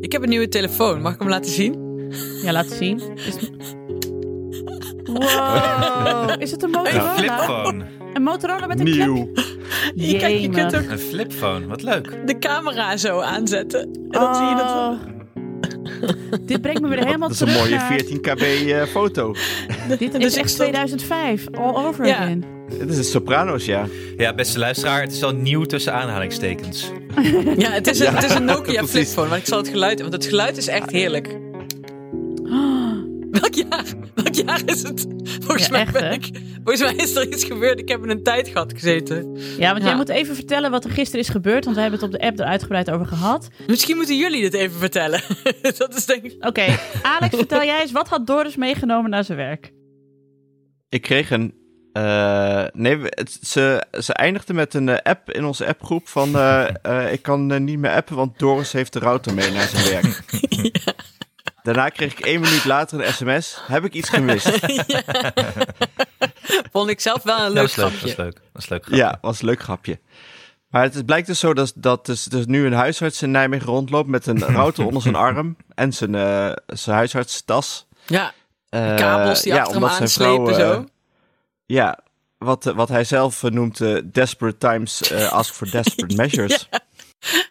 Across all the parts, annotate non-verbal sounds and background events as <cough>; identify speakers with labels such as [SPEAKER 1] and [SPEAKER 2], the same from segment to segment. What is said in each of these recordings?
[SPEAKER 1] Ik heb een nieuwe telefoon. Mag ik hem laten zien? <laughs>
[SPEAKER 2] Ja, laat zien. Is... Wow. Is het een
[SPEAKER 3] Een
[SPEAKER 2] Motorola?
[SPEAKER 3] flipphone.
[SPEAKER 2] Een Motorola met een
[SPEAKER 4] Nieuw.
[SPEAKER 1] Je, kijk, je kunt ook
[SPEAKER 3] Een flipphone, wat leuk.
[SPEAKER 1] de camera zo aanzetten. En dan zie je dat.
[SPEAKER 2] Oh. Dit brengt me weer helemaal
[SPEAKER 4] Dat is een
[SPEAKER 2] terug
[SPEAKER 4] mooie
[SPEAKER 2] naar...
[SPEAKER 4] 14 kb eh, foto.
[SPEAKER 2] Dit is
[SPEAKER 1] Dus ik
[SPEAKER 2] echt
[SPEAKER 1] stond-
[SPEAKER 2] 2005. All over
[SPEAKER 1] Ja.
[SPEAKER 2] again.
[SPEAKER 4] Dit is een Sopranos, ja.
[SPEAKER 3] Ja, beste luisteraar, het is al nieuw tussen aanhalingstekens.
[SPEAKER 1] Ja, het is een,
[SPEAKER 4] Ja,
[SPEAKER 1] het
[SPEAKER 4] <laughs>
[SPEAKER 1] is een Nokia
[SPEAKER 4] precies.
[SPEAKER 1] flipphone. Maar ik zal het geluid... Want het geluid is echt heerlijk. <laughs> Welk jaar? Welk jaar is het? Volgens
[SPEAKER 2] Ja,
[SPEAKER 1] mij
[SPEAKER 2] echt,
[SPEAKER 1] ben
[SPEAKER 2] hè?
[SPEAKER 1] ik... Volgens mij is er iets gebeurd. Ik heb in een tijdgat gezeten.
[SPEAKER 2] <gasps> Ja, want jij
[SPEAKER 1] Ja.
[SPEAKER 2] moet even vertellen wat er gisteren is gebeurd. Want we hebben het op de app er uitgebreid over gehad.
[SPEAKER 1] Misschien moeten jullie dit even vertellen. <laughs> dat is denk ik...
[SPEAKER 2] Oké, <laughs> Alex, vertel jij eens. Wat had Doris meegenomen naar zijn werk?
[SPEAKER 4] Ik kreeg een. eh, nee, we- het, ze, ze eindigde met een eh, app in onze appgroep van. eh, eh, ik kan eh, niet meer appen, want Doris heeft de router mee naar zijn werk.
[SPEAKER 1] <laughs>
[SPEAKER 4] Daarna kreeg ik één minuut later een sms. Heb ik iets gemist?
[SPEAKER 1] <laughs> Vond ik zelf wel een
[SPEAKER 3] Ja,
[SPEAKER 1] leuk
[SPEAKER 3] dat is leuk, dat is
[SPEAKER 1] grapje.
[SPEAKER 3] leuk. Dat is leuk. grapje.
[SPEAKER 4] ja, was een leuk grapje. Maar het is- blijkt dus zo dat, dat dus, dus nu een huisarts in Nijmegen rondloopt met een router onder zijn arm en zijn, eh, zijn huisartstas.
[SPEAKER 1] Ja,
[SPEAKER 4] Eh,
[SPEAKER 1] kabels die
[SPEAKER 4] ja,
[SPEAKER 1] achter hem
[SPEAKER 4] omdat zijn vrouw,
[SPEAKER 1] aanslepen
[SPEAKER 4] eh,
[SPEAKER 1] zo.
[SPEAKER 4] Ja, wat, eh, wat hij zelf eh, noemt eh, desperate times eh,
[SPEAKER 2] <laughs>
[SPEAKER 4] ask for desperate measures.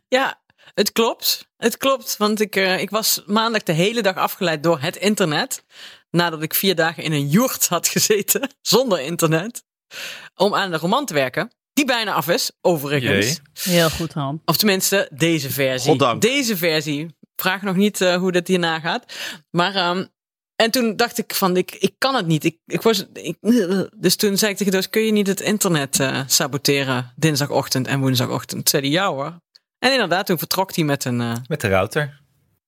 [SPEAKER 1] Ja, het klopt. Het klopt, want ik, eh, ik was maandag de hele dag afgeleid door het internet. Nadat ik vier dagen in een joert had gezeten, <laughs> zonder internet. Om aan de roman te werken. Die bijna af is, overigens.
[SPEAKER 3] Jee.
[SPEAKER 2] Heel goed, Han.
[SPEAKER 1] Of tenminste, deze versie.
[SPEAKER 4] Goddank.
[SPEAKER 1] Deze versie. Vraag nog niet eh, hoe dat hierna gaat. Maar, ehm, en toen dacht ik van, ik, ik kan het niet. Ik, ik was, ik, <laughs> dus toen zei ik tegen Doos, kun je niet het internet eh, saboteren dinsdagochtend en woensdagochtend? Zei hij, ja hoor. En inderdaad, toen vertrok hij met een, eh,
[SPEAKER 3] Met de router.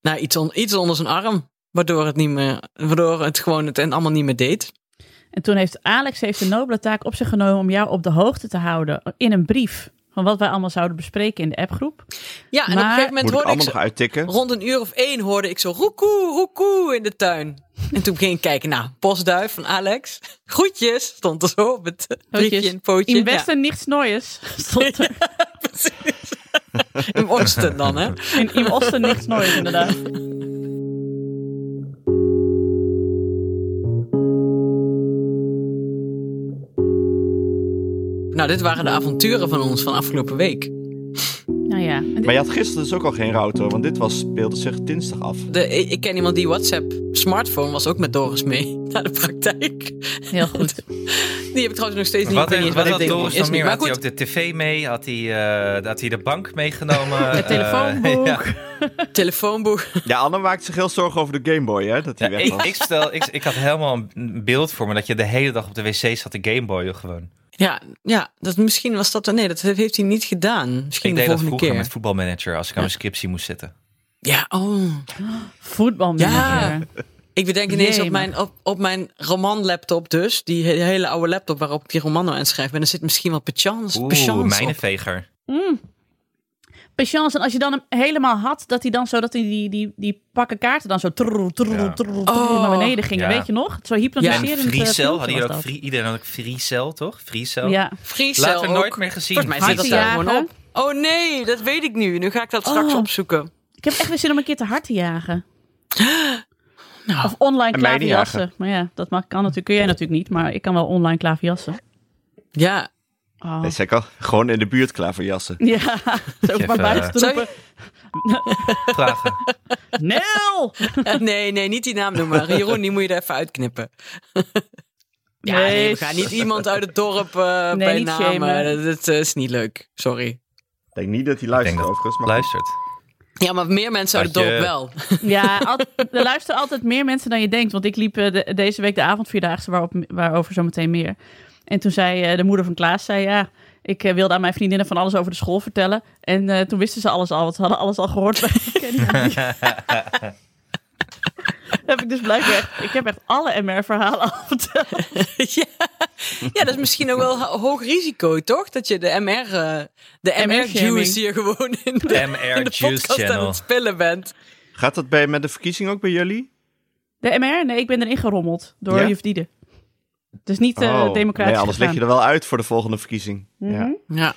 [SPEAKER 1] nou, iets, on- iets onder zijn arm. Waardoor het, niet meer, waardoor het gewoon het en allemaal niet meer deed.
[SPEAKER 2] En toen heeft Alex heeft de nobele taak op zich genomen om jou op de hoogte te houden in een brief van wat wij allemaal zouden bespreken in de appgroep.
[SPEAKER 1] Ja, en op een
[SPEAKER 2] Maar-
[SPEAKER 1] gegeven moment
[SPEAKER 4] Moet ik
[SPEAKER 1] hoorde ik
[SPEAKER 4] allemaal
[SPEAKER 1] ze-
[SPEAKER 4] nog uittikken?
[SPEAKER 1] Rond een uur of één hoorde ik zo roekoe, roekoe in de tuin. En toen ging ik kijken, nou, postduif van Alex. Groetjes, stond er zo op het eh, briefje in het pootje.
[SPEAKER 2] In Westen niets
[SPEAKER 3] <laughs>
[SPEAKER 2] Neues stond er.
[SPEAKER 1] Ja, in Oosten dan, hè.
[SPEAKER 2] In, in Osten niets Neues inderdaad.
[SPEAKER 1] Nou, dit waren de avonturen van ons van afgelopen week.
[SPEAKER 2] Nou ja. En dit-
[SPEAKER 4] Maar je had gisteren dus ook al geen router, want dit was, speelde zich dinsdag af.
[SPEAKER 1] De, ik ik ken iemand die WhatsApp-smartphone was ook met Doris mee <laughs> naar de praktijk.
[SPEAKER 2] Heel goed.
[SPEAKER 1] Die heb ik trouwens nog steeds niet.
[SPEAKER 3] Wat,
[SPEAKER 1] Ik weet niet eens
[SPEAKER 3] wat, wat
[SPEAKER 1] waar
[SPEAKER 3] had
[SPEAKER 1] dat ding
[SPEAKER 3] Doris
[SPEAKER 1] is
[SPEAKER 3] nog
[SPEAKER 1] nu.
[SPEAKER 3] meer?
[SPEAKER 1] Maar
[SPEAKER 3] Had hij
[SPEAKER 1] goed,
[SPEAKER 3] ook de tv mee? Had hij, eh, had hij de bank meegenomen?
[SPEAKER 1] <laughs>
[SPEAKER 2] Het
[SPEAKER 3] <laughs> Eh, <laughs>
[SPEAKER 2] telefoonboek.
[SPEAKER 3] ja.
[SPEAKER 1] telefoonboek.
[SPEAKER 4] Ja, Anne maakt zich heel zorgen over de Game Boy, hè? Dat die
[SPEAKER 3] Ja,
[SPEAKER 4] weg
[SPEAKER 3] ik,
[SPEAKER 4] was.
[SPEAKER 3] ik, stel, ik, ik had helemaal een- een beeld voor me dat je de hele dag op de wc zat te gameboyen gewoon.
[SPEAKER 1] Ja, ja dat, misschien was dat... Nee, dat heeft hij niet gedaan. Misschien
[SPEAKER 3] Ik
[SPEAKER 1] de
[SPEAKER 3] deed dat
[SPEAKER 1] volgende
[SPEAKER 3] vroeger
[SPEAKER 1] keer.
[SPEAKER 3] met voetbalmanager als ik aan mijn scriptie moest zitten.
[SPEAKER 1] Ja, oh...
[SPEAKER 2] Voetbalmanager.
[SPEAKER 1] Ik bedenk ineens
[SPEAKER 2] Jee,
[SPEAKER 1] op mijn, op, op mijn romanlaptop dus, die he- hele oude laptop waarop ik die roman nou aan schrijf, en er zit misschien wel patience,
[SPEAKER 3] Oeh,
[SPEAKER 1] patience op.
[SPEAKER 3] mijnenveger.
[SPEAKER 2] Patience. En als je dan hem helemaal had, dat hij dan zo, dat hij die, die, die pakken kaarten dan zo trrr, trrr,
[SPEAKER 3] Ja.
[SPEAKER 2] trrr,
[SPEAKER 1] Oh.
[SPEAKER 2] naar beneden gingen.
[SPEAKER 3] Ja.
[SPEAKER 2] Weet je nog? Zo hypnotiserend.
[SPEAKER 3] En
[SPEAKER 2] eh,
[SPEAKER 3] Freecell,
[SPEAKER 2] filmpje
[SPEAKER 3] hadden jullie
[SPEAKER 2] was
[SPEAKER 3] ook
[SPEAKER 2] dat.
[SPEAKER 3] free, iedereen had ook Freecell, toch? Freecell.
[SPEAKER 2] Ja.
[SPEAKER 1] Vriesel
[SPEAKER 3] Later nooit
[SPEAKER 1] ook.
[SPEAKER 3] meer gezien.
[SPEAKER 1] Volgens mij zit dat
[SPEAKER 2] Harten
[SPEAKER 1] daar gewoon
[SPEAKER 2] jagen.
[SPEAKER 1] op. Oh nee, dat weet ik nu. Nu ga ik dat straks
[SPEAKER 2] Oh.
[SPEAKER 1] opzoeken.
[SPEAKER 2] Ik heb echt weer zin om een keer te hard te jagen. <gasps>
[SPEAKER 1] Nou.
[SPEAKER 2] Of online
[SPEAKER 4] En mij niet
[SPEAKER 2] klaverjassen. Maar ja, dat mag, kan natuurlijk. Kun jij natuurlijk niet, maar ik kan wel online klaverjassen.
[SPEAKER 1] Ja,
[SPEAKER 2] Oh.
[SPEAKER 4] Nee, zei ik al, gewoon in de buurt klaverjassen.
[SPEAKER 2] Ja, <laughs> zo
[SPEAKER 3] Even,
[SPEAKER 2] maar buiten te
[SPEAKER 1] zou
[SPEAKER 2] roepen.
[SPEAKER 3] <laughs> Vragen.
[SPEAKER 2] Nel!
[SPEAKER 1] Eh, nee, nee, niet die naam
[SPEAKER 2] <laughs>
[SPEAKER 1] noemen. Jeroen, die moet je er even uitknippen. Ja,
[SPEAKER 2] Nee,
[SPEAKER 1] nee, we gaan niet iemand uit het dorp eh, bij
[SPEAKER 2] niet
[SPEAKER 1] naam.
[SPEAKER 2] shamen.
[SPEAKER 1] eh, Dat, dat, eh, is niet leuk. Sorry.
[SPEAKER 4] Ik denk niet dat hij
[SPEAKER 3] Ik denk
[SPEAKER 4] luistert,
[SPEAKER 3] dat
[SPEAKER 4] overigens. Maar
[SPEAKER 3] luistert.
[SPEAKER 1] Ja, maar meer mensen uit het
[SPEAKER 3] Had je-
[SPEAKER 1] dorp wel.
[SPEAKER 2] Ja, al- er luisteren altijd meer mensen dan je denkt. Want ik liep eh, de- deze week de avondvierdaagse, waarop, waarover zometeen meer. En toen zei eh, de moeder van Klaas, zei ja, ik eh, wilde aan mijn vriendinnen van alles over de school vertellen. En eh, toen wisten ze alles al, want ze hadden alles al gehoord. bij Kenny.
[SPEAKER 4] <laughs>
[SPEAKER 2] <laughs> heb ik dus blijkbaar echt, ik heb echt alle MR-verhalen al verteld.
[SPEAKER 1] <laughs> ja. ja, dat is misschien ook wel ho- hoog risico, toch? Dat je de MR, eh, de
[SPEAKER 2] shaming.
[SPEAKER 1] MR-juice hier gewoon in de,
[SPEAKER 3] MR
[SPEAKER 1] in de
[SPEAKER 3] Juice
[SPEAKER 1] podcast aan
[SPEAKER 3] Channel.
[SPEAKER 1] het spillen bent.
[SPEAKER 4] Gaat dat bij, met de verkiezing ook bij jullie?
[SPEAKER 2] De MR? Nee, ik ben erin gerommeld door
[SPEAKER 4] Ja?
[SPEAKER 2] je verdienen. Dus niet eh
[SPEAKER 4] Oh,
[SPEAKER 2] democratisch
[SPEAKER 4] nee, anders leg
[SPEAKER 2] gegaan.
[SPEAKER 4] je er wel uit voor de volgende verkiezing.
[SPEAKER 2] Mhm.
[SPEAKER 4] ja.
[SPEAKER 1] Ja.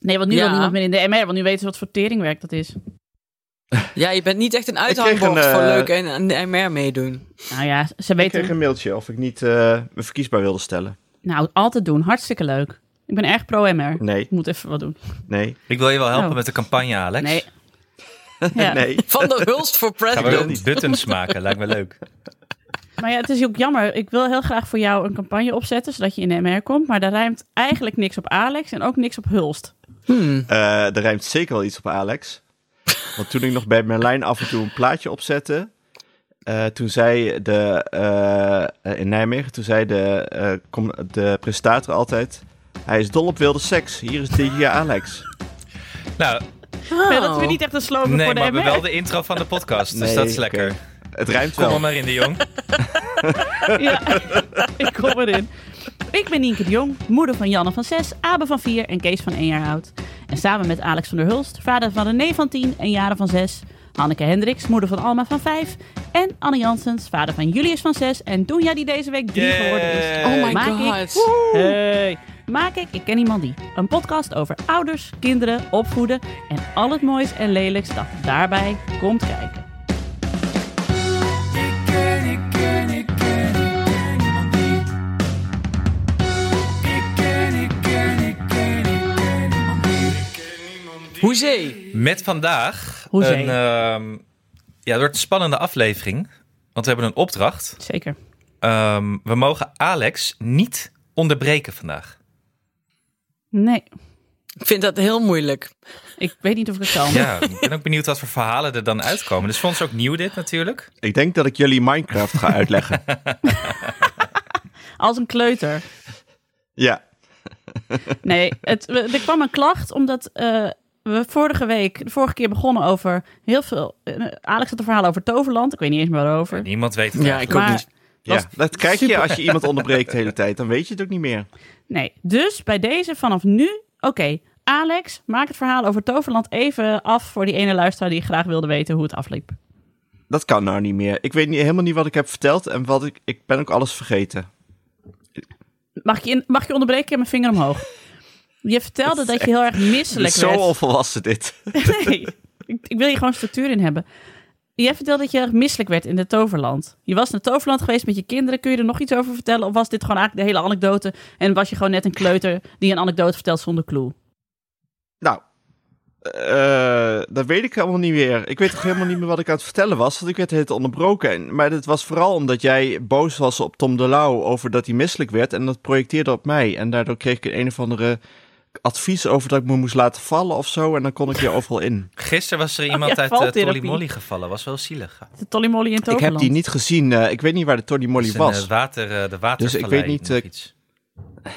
[SPEAKER 2] Nee, want nu
[SPEAKER 1] Ja.
[SPEAKER 2] wil niemand meer in de MR, want nu weten ze wat voor teringwerk dat is.
[SPEAKER 1] Ja, je bent niet echt een uithangbord
[SPEAKER 4] eh,
[SPEAKER 1] voor leuk en aan de MR meedoen.
[SPEAKER 2] Nou ja, ze
[SPEAKER 4] Ik kreeg
[SPEAKER 2] weten.
[SPEAKER 4] een mailtje of ik niet eh, me verkiesbaar wilde stellen.
[SPEAKER 2] Nou, altijd doen. Hartstikke leuk. Ik ben erg pro-MR.
[SPEAKER 4] Nee,
[SPEAKER 2] Ik moet even wat doen.
[SPEAKER 4] nee, <laughs>
[SPEAKER 3] Ik wil je wel helpen
[SPEAKER 2] Oh.
[SPEAKER 3] met de campagne, Alex. <laughs>
[SPEAKER 2] Nee. Ja.
[SPEAKER 4] nee.
[SPEAKER 1] Van der Hulst voor
[SPEAKER 3] Gaan we wel
[SPEAKER 1] president.
[SPEAKER 3] die buttons maken? Lijkt me leuk.
[SPEAKER 2] Maar ja, het is ook jammer. Ik wil heel graag voor jou een campagne opzetten, zodat je in de MR komt. Maar daar rijmt eigenlijk niks op Alex en ook niks op Hulst.
[SPEAKER 1] Hmm.
[SPEAKER 4] Eh er rijmt zeker wel iets op Alex. Want toen ik nog bij Merlijn af en toe een plaatje opzette. eh, toen zei de. eh, eh, in Nijmegen, toen zei de, eh, com- de presentator altijd. Hij is dol op wilde seks. Hier is DJ Alex.
[SPEAKER 3] Nou,
[SPEAKER 2] Ja, dat is weer niet echt een slogan
[SPEAKER 3] nee,
[SPEAKER 2] voor
[SPEAKER 3] maar
[SPEAKER 2] de
[SPEAKER 3] we hebben
[SPEAKER 2] MR.
[SPEAKER 3] wel de intro van de podcast. Dus
[SPEAKER 4] Nee,
[SPEAKER 3] dat is
[SPEAKER 4] oké.
[SPEAKER 3] lekker.
[SPEAKER 4] Het rijmt
[SPEAKER 3] Kom er
[SPEAKER 4] wel.
[SPEAKER 3] maar in, de jong.
[SPEAKER 2] Ja, <laughs> ik kom erin. Ik ben Nienke de Jong, moeder van Janne van 6, Abe van 4 en Kees van 1 jaar oud. En samen met Alex van der Hulst, vader van René van 10 en Jaren van 6. Hanneke Hendricks, moeder van Alma van 5. En Anne Janssens, vader van Julius van 6. En Doenja, die deze week 3
[SPEAKER 3] Yay.
[SPEAKER 2] geworden is.
[SPEAKER 1] Oh my
[SPEAKER 2] Maak ik-
[SPEAKER 1] god.
[SPEAKER 2] Hey. Maak ik Ik Ken Iemand Die. Een podcast over ouders, kinderen, opvoeden en al het moois en lelijks dat daarbij komt kijken.
[SPEAKER 1] Hoezee.
[SPEAKER 3] Met vandaag
[SPEAKER 2] Hoezee.
[SPEAKER 3] een... ehm, ja, het wordt een spannende aflevering. Want we hebben een opdracht.
[SPEAKER 2] Zeker.
[SPEAKER 3] Ehm, we mogen Alex niet onderbreken vandaag.
[SPEAKER 2] Nee,
[SPEAKER 1] Ik vind dat heel moeilijk.
[SPEAKER 2] ik weet niet of ik het kan.
[SPEAKER 3] Ja, ik ben ook benieuwd wat voor verhalen er dan uitkomen. Dus voor ons ook nieuw dit natuurlijk.
[SPEAKER 4] Ik denk dat ik jullie Minecraft ga
[SPEAKER 3] <laughs>
[SPEAKER 4] uitleggen.
[SPEAKER 2] Als een kleuter.
[SPEAKER 4] ja.
[SPEAKER 2] Nee, het, we- er kwam een klacht omdat eh, we vorige week, de vorige keer begonnen over heel veel. eh, Alex had een verhaal over Toverland. Ik weet niet eens meer waarover.
[SPEAKER 3] Niemand weet het
[SPEAKER 1] Ja,
[SPEAKER 3] eigenlijk.
[SPEAKER 1] ik ook
[SPEAKER 2] Maar-
[SPEAKER 1] niet.
[SPEAKER 4] ja. Dat krijg je als je iemand onderbreekt de hele tijd. Dan weet je het ook niet meer.
[SPEAKER 2] Nee, dus bij deze vanaf nu. Oké, Alex, maak het verhaal over Toverland even af voor die ene luisteraar die graag wilde weten hoe het afliep.
[SPEAKER 4] Dat kan nou niet meer. Ik weet niet, helemaal niet wat ik heb verteld. En wat ik, ik ben ook alles vergeten.
[SPEAKER 2] Mag ik je, in- mag ik je onderbreken? Ik heb mijn vinger omhoog. Je vertelde dat je heel erg
[SPEAKER 4] Het
[SPEAKER 2] misselijk
[SPEAKER 4] is zo
[SPEAKER 2] werd.
[SPEAKER 4] onvolwassen dit.
[SPEAKER 2] Nee, ik, ik wil je gewoon structuur in hebben. Jij vertelde dat je erg misselijk werd in het Toverland. Je was naar Toverland geweest met je kinderen. Kun je er nog iets over vertellen? Of was dit gewoon eigenlijk de hele anekdote? En was je gewoon net een kleuter die een anekdote vertelt zonder clue?
[SPEAKER 4] Nou, eh, dat weet ik helemaal niet meer. Ik weet toch helemaal niet meer wat ik aan het vertellen was, want ik werd het onderbroken. En- Maar dat was vooral omdat jij boos was op Tom de Lauw over dat hij misselijk werd en dat projecteerde op mij. En daardoor kreeg ik een of andere advies over dat ik me moest laten vallen of zo en dan kon ik je overal
[SPEAKER 3] <laughs>
[SPEAKER 4] in.
[SPEAKER 3] Gisteren was er iemand
[SPEAKER 2] ja,
[SPEAKER 3] uit uh,
[SPEAKER 2] valtherapie.
[SPEAKER 3] Tolly Molly gevallen. Was wel zielig.
[SPEAKER 2] De Tollymolly in
[SPEAKER 4] Ik
[SPEAKER 2] Toverland.
[SPEAKER 4] heb die niet gezien, eh, ik weet niet waar de Tony Molly
[SPEAKER 3] Het is een,
[SPEAKER 4] was.
[SPEAKER 3] eh, water, eh, de water
[SPEAKER 4] Dus ik weet niet, eh, <laughs>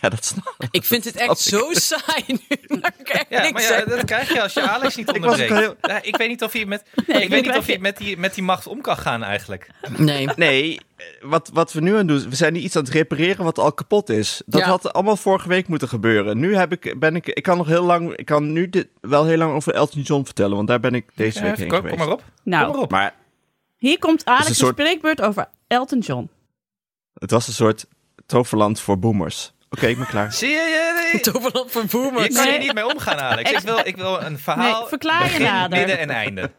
[SPEAKER 4] Ja, dat snap ik.
[SPEAKER 1] Ik vind het echt zo saai nu. Maar ik echt
[SPEAKER 3] Ja, maar
[SPEAKER 1] niks
[SPEAKER 3] ja,
[SPEAKER 1] zeggen.
[SPEAKER 3] dat krijg je als
[SPEAKER 2] <laughs>
[SPEAKER 3] je Alex niet
[SPEAKER 4] Ik was ook
[SPEAKER 3] onderbreekt.
[SPEAKER 4] heel-
[SPEAKER 3] Ja, ik weet niet of je met, ik
[SPEAKER 2] dat
[SPEAKER 3] weet niet
[SPEAKER 2] krijg
[SPEAKER 3] of je
[SPEAKER 2] je.
[SPEAKER 3] met, die, met die macht om kan gaan eigenlijk.
[SPEAKER 1] <laughs> Nee.
[SPEAKER 4] Nee, eh, wat, wat we nu aan het doen, is- we zijn nu iets aan het repareren wat al kapot is. Dat
[SPEAKER 1] Ja.
[SPEAKER 4] had allemaal vorige week moeten gebeuren. Nu heb ik, ben ik, ik kan nog heel lang, ik kan nu dit, wel heel lang over Elton John vertellen, want daar ben ik deze
[SPEAKER 3] Ja,
[SPEAKER 4] week
[SPEAKER 3] even
[SPEAKER 4] heen
[SPEAKER 3] ko-
[SPEAKER 4] geweest.
[SPEAKER 3] kom maar op.
[SPEAKER 2] Nou,
[SPEAKER 3] Kom maar op.
[SPEAKER 4] Maar
[SPEAKER 2] hier komt Alex
[SPEAKER 4] een
[SPEAKER 2] een
[SPEAKER 4] soort-
[SPEAKER 2] spreekbeurt over Elton John.
[SPEAKER 4] het was een soort toverland voor boomers. Oké, ik ben klaar.
[SPEAKER 3] Zie je, je, je-
[SPEAKER 1] Toverland voor
[SPEAKER 3] je
[SPEAKER 1] boomers.
[SPEAKER 3] kan
[SPEAKER 2] Nee.
[SPEAKER 3] hier niet mee omgaan Alex. Ik wil, ik wil een verhaal
[SPEAKER 2] Nee, verklaar je
[SPEAKER 3] begin,
[SPEAKER 2] nader.
[SPEAKER 3] midden en einde.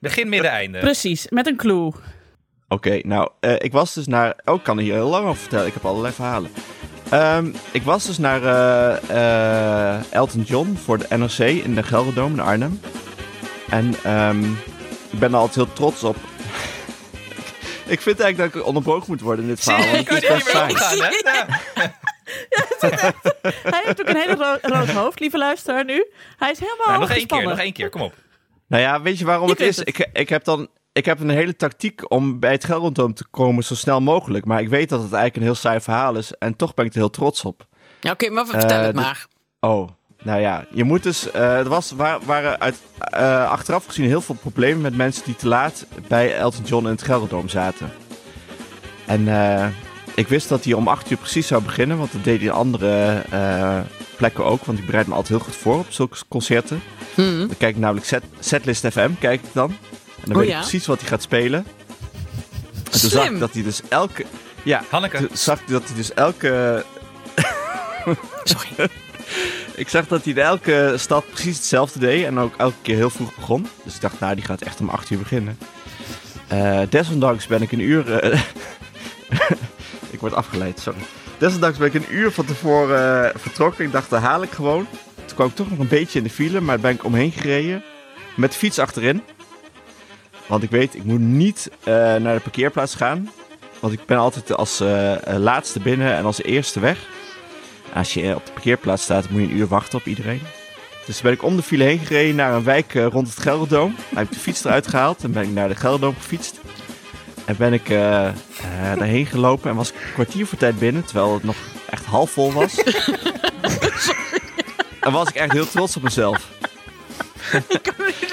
[SPEAKER 3] Begin, midden, einde.
[SPEAKER 2] Precies, met een clue.
[SPEAKER 4] Oké, nou, eh, ik was dus naar... Oh, ik kan er hier heel lang over vertellen. Ik heb allerlei verhalen. Ehm, ik was dus naar eh, eh, Elton John voor de NRC in de Gelderdoom in Arnhem. En ehm, ik ben er altijd heel trots op. <laughs> ik vind eigenlijk dat ik onderbroken moet worden in dit
[SPEAKER 3] Zie je,
[SPEAKER 4] verhaal.
[SPEAKER 3] je
[SPEAKER 4] Want
[SPEAKER 3] kan
[SPEAKER 4] het is
[SPEAKER 3] hier niet
[SPEAKER 4] best
[SPEAKER 3] mee
[SPEAKER 4] saai.
[SPEAKER 3] omgaan hè. Nou,
[SPEAKER 2] Hij heeft ook een hele ro- rood hoofd, lieve luisteraar nu. Hij is helemaal
[SPEAKER 3] nou, nog één keer,
[SPEAKER 2] gespannen.
[SPEAKER 3] nog één keer. Kom op.
[SPEAKER 4] Nou ja, weet je waarom
[SPEAKER 2] Je
[SPEAKER 4] het
[SPEAKER 2] kunt
[SPEAKER 4] is?
[SPEAKER 2] het.
[SPEAKER 4] Ik, ik heb dan... Ik heb een hele tactiek om bij het Gelderdoom te komen zo snel mogelijk. Maar ik weet dat het eigenlijk een heel saai verhaal is. En toch ben ik er heel trots op.
[SPEAKER 1] Ja, Oké, maar vertel
[SPEAKER 4] Eh,
[SPEAKER 1] het
[SPEAKER 4] dit-
[SPEAKER 1] maar.
[SPEAKER 4] Oh, nou ja. Je moet dus... eh er was, waar, waren uit, eh, achteraf gezien heel veel problemen met mensen die te laat bij Elton John in het Gelderdoom zaten. En eh, ik wist dat hij om 8 uur precies zou beginnen. Want dat deed hij in andere eh, plekken ook. Want ik bereid me altijd heel goed voor op zulke concerten.
[SPEAKER 1] Hmm.
[SPEAKER 4] Dan kijk ik namelijk set, Setlist FM, kijk ik dan. En dan
[SPEAKER 1] Oh
[SPEAKER 4] weet
[SPEAKER 1] ja.
[SPEAKER 4] ik precies wat hij gaat spelen. En toen zag
[SPEAKER 1] Slim.
[SPEAKER 4] ik dat hij dus elke... Ja,
[SPEAKER 3] Hanneke.
[SPEAKER 4] toen zag ik dat hij dus elke...
[SPEAKER 1] Sorry.
[SPEAKER 4] <laughs> Ik zag dat hij in elke stad precies hetzelfde deed en ook elke keer heel vroeg begon. Dus ik dacht, nou, die gaat echt om 8 uur beginnen. Eh, desondanks ben ik een uur. eh, <laughs> ik word afgeleid, sorry. Desondanks ben ik een uur van tevoren eh, vertrokken. Ik dacht, daar haal ik gewoon. Toen kwam ik toch nog een beetje in de file, maar daar ben ik omheen gereden. Met de fiets achterin. Want ik weet, ik moet niet eh, naar de parkeerplaats gaan. Want ik ben altijd als eh, eh, laatste binnen en als eerste weg. Als je eh, op de parkeerplaats staat, moet je een uur wachten op iedereen. Dus toen ben ik om de file heen gereden naar een wijk eh, rond het Gelderdoom. Daar heb ik de fiets eruit gehaald en ben ik naar de Gelderdoom gefietst. En ben ik eh, eh, daarheen gelopen en was ik een kwartier voor tijd binnen, terwijl het nog echt half vol was. En was ik echt heel trots op mezelf.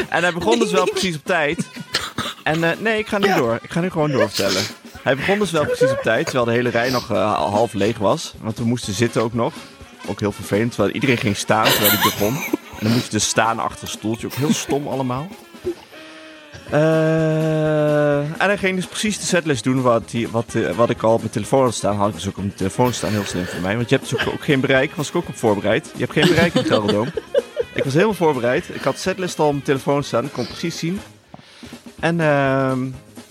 [SPEAKER 4] en hij begon dus wel precies op tijd. En eh, nee, ik ga nu door. Ik ga nu gewoon doorvertellen. Hij begon dus wel precies op tijd, terwijl de hele rij nog eh, al half leeg was. Want we moesten zitten ook nog. Ook heel vervelend, terwijl iedereen ging staan terwijl ik begon. En dan moest je dus staan achter een stoeltje, ook heel stom allemaal. Eh, en hij ging dus precies de setlist doen wat, die, wat, eh, wat ik al op mijn telefoon had staan. Had ik dus ook op mijn telefoon staan, heel slim voor mij. Want je hebt dus ook, ook geen bereik, was ik ook op voorbereid. Je hebt geen bereik in Gelderdoom. ik was helemaal voorbereid. Ik had de setlist al op mijn telefoon staan, ik kon precies zien. En ehm,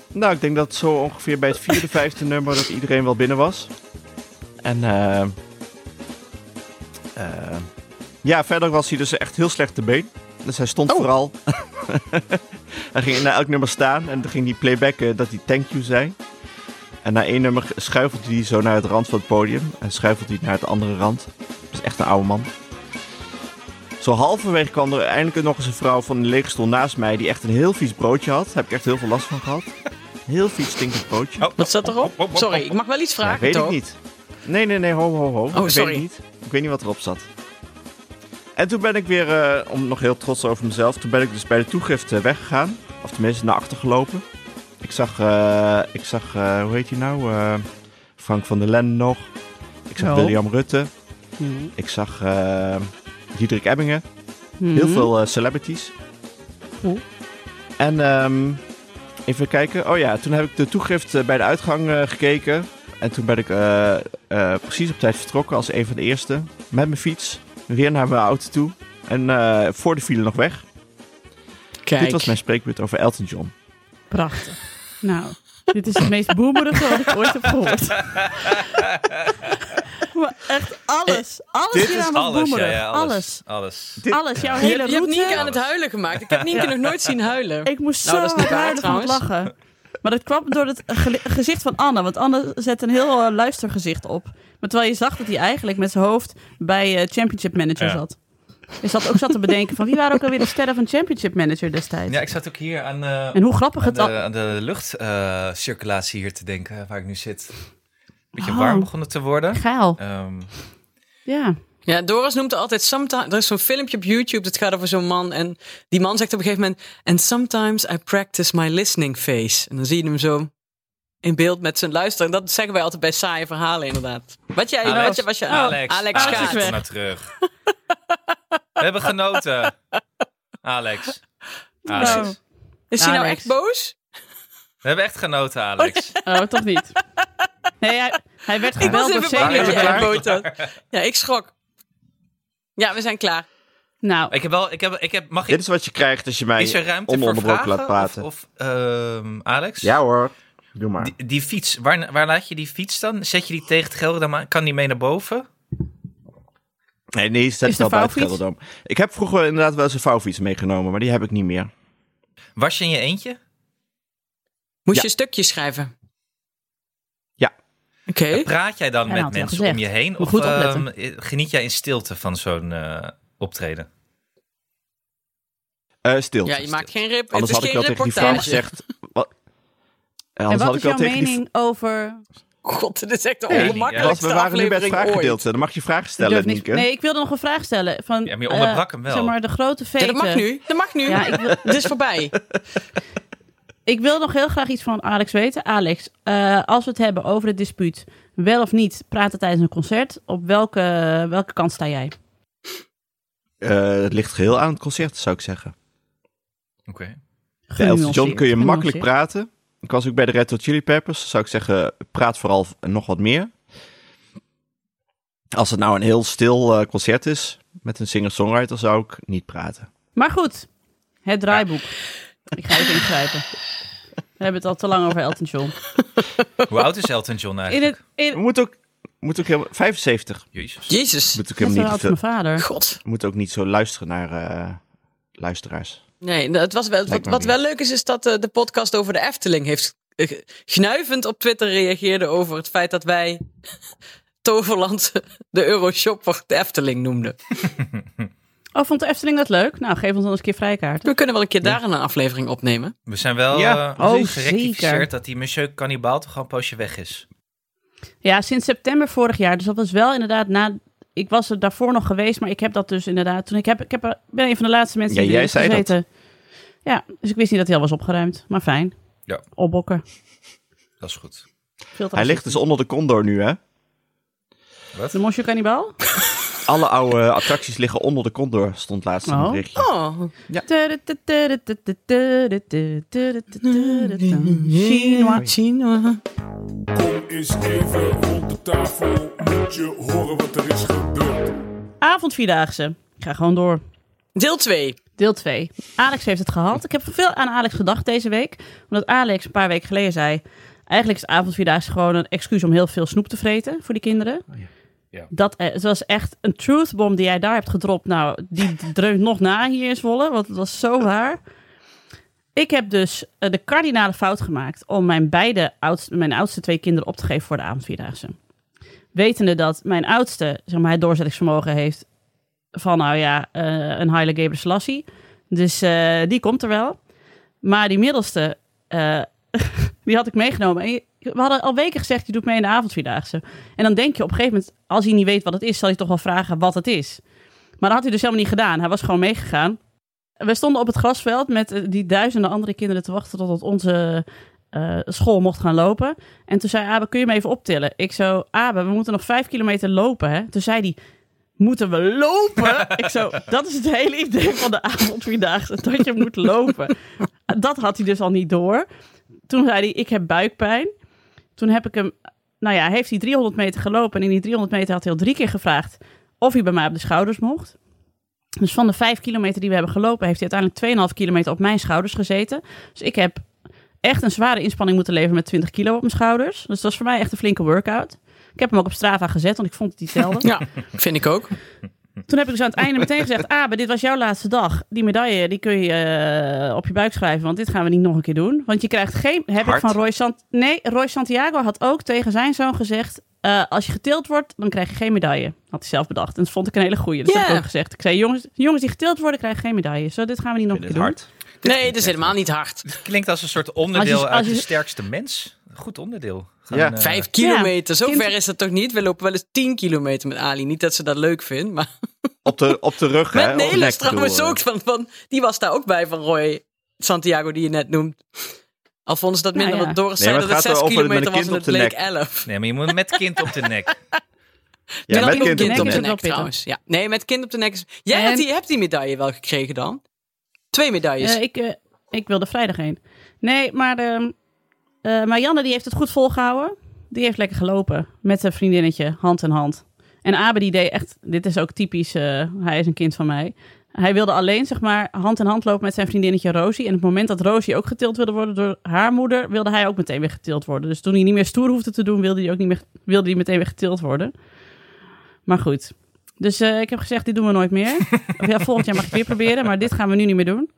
[SPEAKER 4] nou, ik denk dat zo ongeveer bij het vierde, vijfde nummer dat iedereen wel binnen was. En ehm, ehm, ja, verder was hij dus echt heel slecht te been. Dus hij stond vooral. <laughs> hij ging na elk nummer staan en dan ging hij playbacken dat hij thank you zei. En na één nummer schuifelt hij zo naar het rand van het podium. En schuifelt hij naar het andere rand. Dat is echt een oude man. Zo halverwege kwam er eindelijk nog eens een vrouw van de lege stoel naast mij... die echt een heel vies broodje had. Daar heb ik echt heel veel last van gehad. Heel vies stinkend broodje.
[SPEAKER 3] Oh,
[SPEAKER 1] Wat staat
[SPEAKER 3] hop, hop,
[SPEAKER 1] erop?
[SPEAKER 3] hop,
[SPEAKER 1] Sorry,
[SPEAKER 3] hop.
[SPEAKER 1] ik mag wel iets vragen,
[SPEAKER 4] Ja, weet
[SPEAKER 1] toch? Oh,
[SPEAKER 4] ik niet. Nee, nee, nee, ho, ho, ho. ik weet
[SPEAKER 1] sorry.
[SPEAKER 4] het niet. Ik weet niet wat erop zat. En toen ben ik weer, eh, om nog heel trots over mezelf, toen ben ik dus bij de toegift eh, weggegaan. Of tenminste naar achter gelopen. Ik zag, eh, ik zag eh, hoe heet hij nou? Eh, Frank van der Lende nog. Ik zag
[SPEAKER 2] Oh.
[SPEAKER 4] William Rutte.
[SPEAKER 1] Mhm.
[SPEAKER 4] Ik zag eh Diederik Ebbingen.
[SPEAKER 2] Hmm.
[SPEAKER 4] Heel
[SPEAKER 1] Mhm.
[SPEAKER 4] veel eh, celebrities.
[SPEAKER 2] Cool.
[SPEAKER 4] En ehm, even kijken. Oh ja, toen heb ik de toegift eh, bij de uitgang eh, gekeken. En toen ben ik eh, eh, precies op tijd vertrokken als een van de eerste. Met mijn fiets. Weer naar mijn auto toe. En eh, voor de file nog weg.
[SPEAKER 1] Kijk.
[SPEAKER 4] Dit was mijn spreekbeurt over Elton John.
[SPEAKER 2] Prachtig. Nou, dit is het meest boemerige wat ik ooit heb gehoord. <laughs> maar echt alles. Alles
[SPEAKER 4] Dit
[SPEAKER 2] hier
[SPEAKER 4] is
[SPEAKER 2] aan was
[SPEAKER 3] Alles, ja,
[SPEAKER 2] boemerig.
[SPEAKER 3] ja, alles.
[SPEAKER 2] alles.
[SPEAKER 3] Alles.
[SPEAKER 4] Dit-
[SPEAKER 2] Alles, jouw
[SPEAKER 1] je,
[SPEAKER 2] hele
[SPEAKER 1] hebt- je hebt
[SPEAKER 2] route.
[SPEAKER 1] Nienke aan het huilen gemaakt. Ik heb Nienke nog nooit zien huilen.
[SPEAKER 2] Ik moest
[SPEAKER 1] Nou, dat
[SPEAKER 2] zo
[SPEAKER 1] is niet
[SPEAKER 2] hard
[SPEAKER 1] waar,
[SPEAKER 2] huilen van het
[SPEAKER 1] trouwens.
[SPEAKER 2] lachen. Maar dat kwam door het gele- gezicht van Anne. Want Anne zet een heel eh, luistergezicht op. Maar terwijl je zag dat hij eigenlijk met zijn hoofd bij eh, Championship Manager
[SPEAKER 3] Ja.
[SPEAKER 2] zat. Je zat ook zat te bedenken van wie waren ook alweer de sterren van Championship Manager destijds.
[SPEAKER 3] Ja, ik zat ook hier aan, eh,
[SPEAKER 2] En hoe grappig
[SPEAKER 3] aan
[SPEAKER 2] het
[SPEAKER 3] de,
[SPEAKER 2] al...
[SPEAKER 3] aan de luchtcirculatie eh, hier te denken, waar ik nu zit. Beetje
[SPEAKER 2] Oh.
[SPEAKER 3] warm begonnen te worden.
[SPEAKER 2] Geil.
[SPEAKER 3] Ehm,
[SPEAKER 2] Ja.
[SPEAKER 1] Ja, Doris noemt altijd sometimes. Er is zo'n filmpje op YouTube dat gaat over zo'n man. En die man zegt op een gegeven moment. And sometimes I practice my listening face. En dan zie je hem zo in beeld met zijn luisteren. En dat zeggen wij altijd bij saaie verhalen, inderdaad. Wat jij,
[SPEAKER 3] Alex.
[SPEAKER 1] wat je, wat je, oh,
[SPEAKER 3] Alex,
[SPEAKER 1] Alex
[SPEAKER 2] Alex
[SPEAKER 1] gaat.
[SPEAKER 2] is weg.
[SPEAKER 3] kom maar terug. We hebben genoten. Alex. Alex.
[SPEAKER 2] Nou.
[SPEAKER 1] Is hij nou
[SPEAKER 2] Alex.
[SPEAKER 1] echt boos?
[SPEAKER 3] We hebben echt genoten, Alex.
[SPEAKER 2] Oh, toch niet. Nee, hij, hij werd
[SPEAKER 1] Ik was
[SPEAKER 2] gebeld door
[SPEAKER 1] even bang
[SPEAKER 2] senior.
[SPEAKER 1] dat
[SPEAKER 3] Zijn
[SPEAKER 1] je
[SPEAKER 3] we klaar?
[SPEAKER 1] uitboot had. Ja, ik schrok. Ja, we zijn klaar.
[SPEAKER 2] Nou,
[SPEAKER 3] Ik heb wel, ik heb, ik heb, mag
[SPEAKER 4] Dit
[SPEAKER 3] ik,
[SPEAKER 4] is wat je krijgt als je mij
[SPEAKER 3] is er ruimte voor
[SPEAKER 4] ononderbroken
[SPEAKER 3] vragen?
[SPEAKER 4] laat praten.
[SPEAKER 3] Of, of, ehm, Alex?
[SPEAKER 4] Ja hoor, doe maar.
[SPEAKER 3] Die, die fiets, waar, waar laat je die fiets dan? Zet je die tegen het Gelderdam aan? Kan die mee naar boven?
[SPEAKER 4] Nee, nee,
[SPEAKER 2] Is
[SPEAKER 4] zet het wel
[SPEAKER 2] de
[SPEAKER 4] bij het
[SPEAKER 2] vouwfiets?
[SPEAKER 4] Gelderdoom. Ik heb vroeger inderdaad wel eens een vouwfiets meegenomen, maar die heb ik niet meer.
[SPEAKER 3] Was je in je eentje?
[SPEAKER 1] Moest
[SPEAKER 4] Ja.
[SPEAKER 1] je stukjes schrijven?
[SPEAKER 4] Ja.
[SPEAKER 1] Oké.
[SPEAKER 3] Praat jij dan
[SPEAKER 2] Ja, nou,
[SPEAKER 3] met
[SPEAKER 2] had hij al
[SPEAKER 3] mensen
[SPEAKER 2] gezegd.
[SPEAKER 3] om je heen?
[SPEAKER 2] Moet
[SPEAKER 3] Of
[SPEAKER 2] goed opletten.
[SPEAKER 3] ehm, geniet jij in stilte van zo'n eh, optreden?
[SPEAKER 4] Eh stilte.
[SPEAKER 1] Ja, je maakt geen rip.
[SPEAKER 4] Anders
[SPEAKER 1] het is
[SPEAKER 4] had ik wel
[SPEAKER 1] geen
[SPEAKER 4] tegen die vrouw
[SPEAKER 1] reportage.
[SPEAKER 4] gezegd. Wat?
[SPEAKER 2] en
[SPEAKER 4] Eh, Anders
[SPEAKER 2] wat
[SPEAKER 4] had
[SPEAKER 2] is
[SPEAKER 4] ik wel
[SPEAKER 2] jouw
[SPEAKER 4] tegen die
[SPEAKER 2] mening over...
[SPEAKER 1] God, dit is echt de
[SPEAKER 3] Nee, niet,
[SPEAKER 4] vrouw.
[SPEAKER 1] ongemakkelijkste
[SPEAKER 4] We waren nu bij het
[SPEAKER 1] aflevering ooit.
[SPEAKER 4] vraaggedeelte. Dan mag je vragen
[SPEAKER 2] Ik durf
[SPEAKER 4] stellen,
[SPEAKER 2] niks-
[SPEAKER 4] Nienke.
[SPEAKER 2] Nee, ik wilde nog een vraag stellen. Van,
[SPEAKER 3] Ja, maar je
[SPEAKER 2] eh,
[SPEAKER 3] onderbrak hem wel.
[SPEAKER 2] Zeg maar, de grote
[SPEAKER 1] Ja,
[SPEAKER 2] veten.
[SPEAKER 1] dat mag nu. Dat mag nu.
[SPEAKER 2] Ja, ik wil,
[SPEAKER 1] <laughs> Het is voorbij.
[SPEAKER 2] Ik wil nog heel graag iets van Alex weten. Alex, eh, als we het hebben over het dispuut, wel of niet praten tijdens een concert, op welke, welke kant sta jij?
[SPEAKER 4] Eh, het ligt geheel aan het concert, zou ik zeggen.
[SPEAKER 3] Oké.
[SPEAKER 4] Bij Elton John
[SPEAKER 2] Genuanceerd,
[SPEAKER 4] kun je makkelijk
[SPEAKER 2] genuanceerd.
[SPEAKER 4] praten. Ik was ook bij de Red Hot Chili Peppers. Zou ik zeggen, praat vooral nog wat meer. Als het nou een heel stil eh, concert is met een singer-songwriter, zou ik niet praten.
[SPEAKER 2] Maar goed, het draaiboek. Ik ga even ingrijpen. We hebben het al te lang over Elton John.
[SPEAKER 3] Hoe oud is Elton
[SPEAKER 2] <laughs>
[SPEAKER 3] John
[SPEAKER 2] In
[SPEAKER 3] eigenlijk?
[SPEAKER 2] het, in,
[SPEAKER 4] We moeten ook, moet ook helemaal... 75.
[SPEAKER 3] Jezus.
[SPEAKER 1] Jezus.
[SPEAKER 4] Moet ook,
[SPEAKER 2] dat is wel
[SPEAKER 4] helemaal
[SPEAKER 2] oud
[SPEAKER 4] niet,
[SPEAKER 2] als mijn
[SPEAKER 4] te-
[SPEAKER 2] vader.
[SPEAKER 1] God.
[SPEAKER 4] moet ook niet zo luisteren naar eh, luisteraars.
[SPEAKER 1] Nee, nou, het was wel, wat,
[SPEAKER 4] me
[SPEAKER 1] wat
[SPEAKER 4] niet.
[SPEAKER 1] wel leuk is, is dat eh, de podcast over de Efteling heeft eh, gnuivend op Twitter reageerde over het feit dat wij <laughs> Toverland <laughs> de Euroshopper de Efteling noemden.
[SPEAKER 2] Oh, vond de Efteling dat leuk? Nou, geef ons dan eens een keer vrijkaart.
[SPEAKER 1] We kunnen wel een keer daar een aflevering opnemen.
[SPEAKER 3] We zijn wel
[SPEAKER 4] Ja.
[SPEAKER 3] eh,
[SPEAKER 2] Oh,
[SPEAKER 3] gerectificeerd
[SPEAKER 2] zeker.
[SPEAKER 3] dat die monsieur Cannibal toch al een poosje weg is.
[SPEAKER 2] Ja, sinds september vorig jaar. Dus dat was wel inderdaad na... Ik was er daarvoor nog geweest, maar ik heb dat dus inderdaad... Toen ik, heb, ik heb, er- ben een van de laatste mensen die
[SPEAKER 4] Ja,
[SPEAKER 2] erin
[SPEAKER 4] jij
[SPEAKER 2] heeft
[SPEAKER 4] zei dat.
[SPEAKER 2] gezeten. Ja, dus ik wist niet dat hij al was opgeruimd. Maar fijn.
[SPEAKER 3] Ja.
[SPEAKER 2] Opbokken.
[SPEAKER 3] Dat is goed.
[SPEAKER 2] Veel te
[SPEAKER 4] Hij ligt
[SPEAKER 2] racistisch.
[SPEAKER 4] dus onder de condor nu, hè?
[SPEAKER 2] De Monsieur Cannibal?
[SPEAKER 4] Alle oude attracties liggen onder de condor, stond laatst in
[SPEAKER 2] Oh.
[SPEAKER 4] een berichtje.
[SPEAKER 1] Oh,
[SPEAKER 2] Chinois.
[SPEAKER 1] Chinois.
[SPEAKER 5] Kom eens even rond de tafel, moet je horen wat er is gebeurd.
[SPEAKER 2] Avondvierdaagse. Ik ga gewoon door.
[SPEAKER 1] Deel 2.
[SPEAKER 2] Deel 2. Alex heeft het gehad. Ik heb veel aan Alex gedacht deze week. Omdat Alex een paar weken geleden zei... Eigenlijk is avondvierdaagse gewoon een excuus om heel veel snoep te vreten voor die kinderen.
[SPEAKER 3] Oh, Ja.
[SPEAKER 2] Dat, eh, het was echt een truthbom die jij daar hebt gedropt. Nou,
[SPEAKER 3] <laughs>
[SPEAKER 2] die dreunt nog na hier in Zwolle, want het was zo waar. Ik heb dus eh, de kardinale fout gemaakt om mijn beide oudste, mijn oudste twee kinderen op te geven voor de avondvierdaagse. Wetende dat mijn oudste, zeg maar, het doorzettingsvermogen heeft van, nou ja, eh, een Haile Geber Selassie. Dus eh, die komt er wel. Maar die middelste, eh, <laughs> die had ik meegenomen. En je- we hadden al weken gezegd, je doet mee in de avondvierdaagse. En dan denk je op een gegeven moment, als hij niet weet wat het is, zal hij toch wel vragen wat het is. Maar dat had hij dus helemaal niet gedaan. Hij was gewoon meegegaan. We stonden op het grasveld met eh, die duizenden andere kinderen te wachten totdat onze eh, school mocht gaan lopen. En toen zei Abe, kun je me even optillen? Ik zo, Abe, we moeten nog vijf kilometer lopen. Hè? Toen zei hij, moeten we lopen? ik zo, dat is het hele idee van de avondvierdaagse, dat je moet lopen. Dat had hij dus al niet door. Toen zei hij, ik heb buikpijn. Toen heb ik hem, nou ja, heeft hij 300 meter gelopen. En in die 300 meter had hij al drie keer gevraagd of hij bij mij op de schouders mocht. Dus van de vijf kilometer die we hebben gelopen, heeft hij uiteindelijk 2,5 kilometer op mijn schouders gezeten. Dus ik heb echt een zware inspanning moeten leveren met 20 kilo op mijn schouders. Dus dat was voor mij echt een flinke workout. Ik heb hem ook op Strava gezet, want ik vond het die telde.
[SPEAKER 1] Ja, vind ik ook.
[SPEAKER 2] <laughs> Toen heb ik dus aan het einde meteen gezegd: Abe, dit was jouw laatste dag. Die medaille die kun je eh, op je buik schrijven, want dit gaan we niet nog een keer doen. Want je krijgt geen. Heb ik
[SPEAKER 3] Hard.
[SPEAKER 2] van Roy Sant. Nee, Roy Santiago had ook tegen zijn zoon gezegd: eh, Als je getild wordt, dan krijg je geen medaille. Had hij zelf bedacht. En dat vond ik een hele goeie. Dat heb
[SPEAKER 1] Ja.
[SPEAKER 2] ik ook gezegd. Ik zei: Jongens, jongens die getild worden, krijgen geen medaille. Zo, dit gaan we niet nog
[SPEAKER 4] Ik
[SPEAKER 2] een
[SPEAKER 4] vind
[SPEAKER 2] keer
[SPEAKER 4] het
[SPEAKER 2] doen.
[SPEAKER 4] hard.
[SPEAKER 1] Nee, dat is helemaal niet hard.
[SPEAKER 3] Klinkt als een soort onderdeel
[SPEAKER 2] Als je-
[SPEAKER 3] uit
[SPEAKER 2] als je-
[SPEAKER 3] de sterkste mens. Goed onderdeel.
[SPEAKER 4] Ja.
[SPEAKER 3] eh,
[SPEAKER 1] Vijf kilometer, zo
[SPEAKER 2] kind-
[SPEAKER 1] ver is dat toch niet? We lopen wel eens tien kilometer met Ali. Niet dat ze dat leuk vindt, maar
[SPEAKER 4] Op de, op de rug, hè?
[SPEAKER 1] met
[SPEAKER 4] op de nek,
[SPEAKER 1] Nelis trouwens
[SPEAKER 4] bedoel, eh.
[SPEAKER 1] ook. Van, van, die was daar ook bij van Roy Santiago, die je net noemt. Al vonden ze dat
[SPEAKER 2] Nou
[SPEAKER 1] minder,
[SPEAKER 2] ja.
[SPEAKER 1] want Doris
[SPEAKER 4] Nee,
[SPEAKER 1] zei
[SPEAKER 4] maar
[SPEAKER 1] dat het
[SPEAKER 4] het
[SPEAKER 1] zes
[SPEAKER 4] gaat erover met
[SPEAKER 1] kilometer
[SPEAKER 4] een
[SPEAKER 1] was en
[SPEAKER 4] kind
[SPEAKER 1] het
[SPEAKER 4] op de
[SPEAKER 1] bleek
[SPEAKER 4] nek.
[SPEAKER 1] elf.
[SPEAKER 3] Nee, maar je moet met kind op de nek.
[SPEAKER 4] Ja,
[SPEAKER 1] Nee,
[SPEAKER 4] met
[SPEAKER 1] dat
[SPEAKER 4] kind
[SPEAKER 1] klopt.
[SPEAKER 4] op de
[SPEAKER 2] is
[SPEAKER 4] nek.
[SPEAKER 2] het wel pittig.
[SPEAKER 1] trouwens. Ja. Nee, met kind op de nek is... Jij
[SPEAKER 2] En-
[SPEAKER 1] hebt, die, hebt die medaille wel gekregen dan? Twee medailles.
[SPEAKER 2] Eh, ik, eh, ik wilde vrijdag heen. Nee, maar, ehm eh, maar Janne die heeft het goed volgehouden. Die heeft lekker gelopen met zijn vriendinnetje, hand in hand. En Abe die deed echt, dit is ook typisch, eh, hij is een kind van mij. Hij wilde alleen zeg maar hand in hand lopen met zijn vriendinnetje Rosie. En op het moment dat Rosie ook getild wilde worden door haar moeder, wilde hij ook meteen weer getild worden. Dus toen hij niet meer stoer hoefde te doen, wilde hij ook niet meer, wilde hij meteen weer getild worden. Maar goed. Dus eh, ik heb gezegd, dit doen we nooit meer. Of ja, volgend jaar mag ik het weer proberen, maar dit gaan we nu niet meer doen.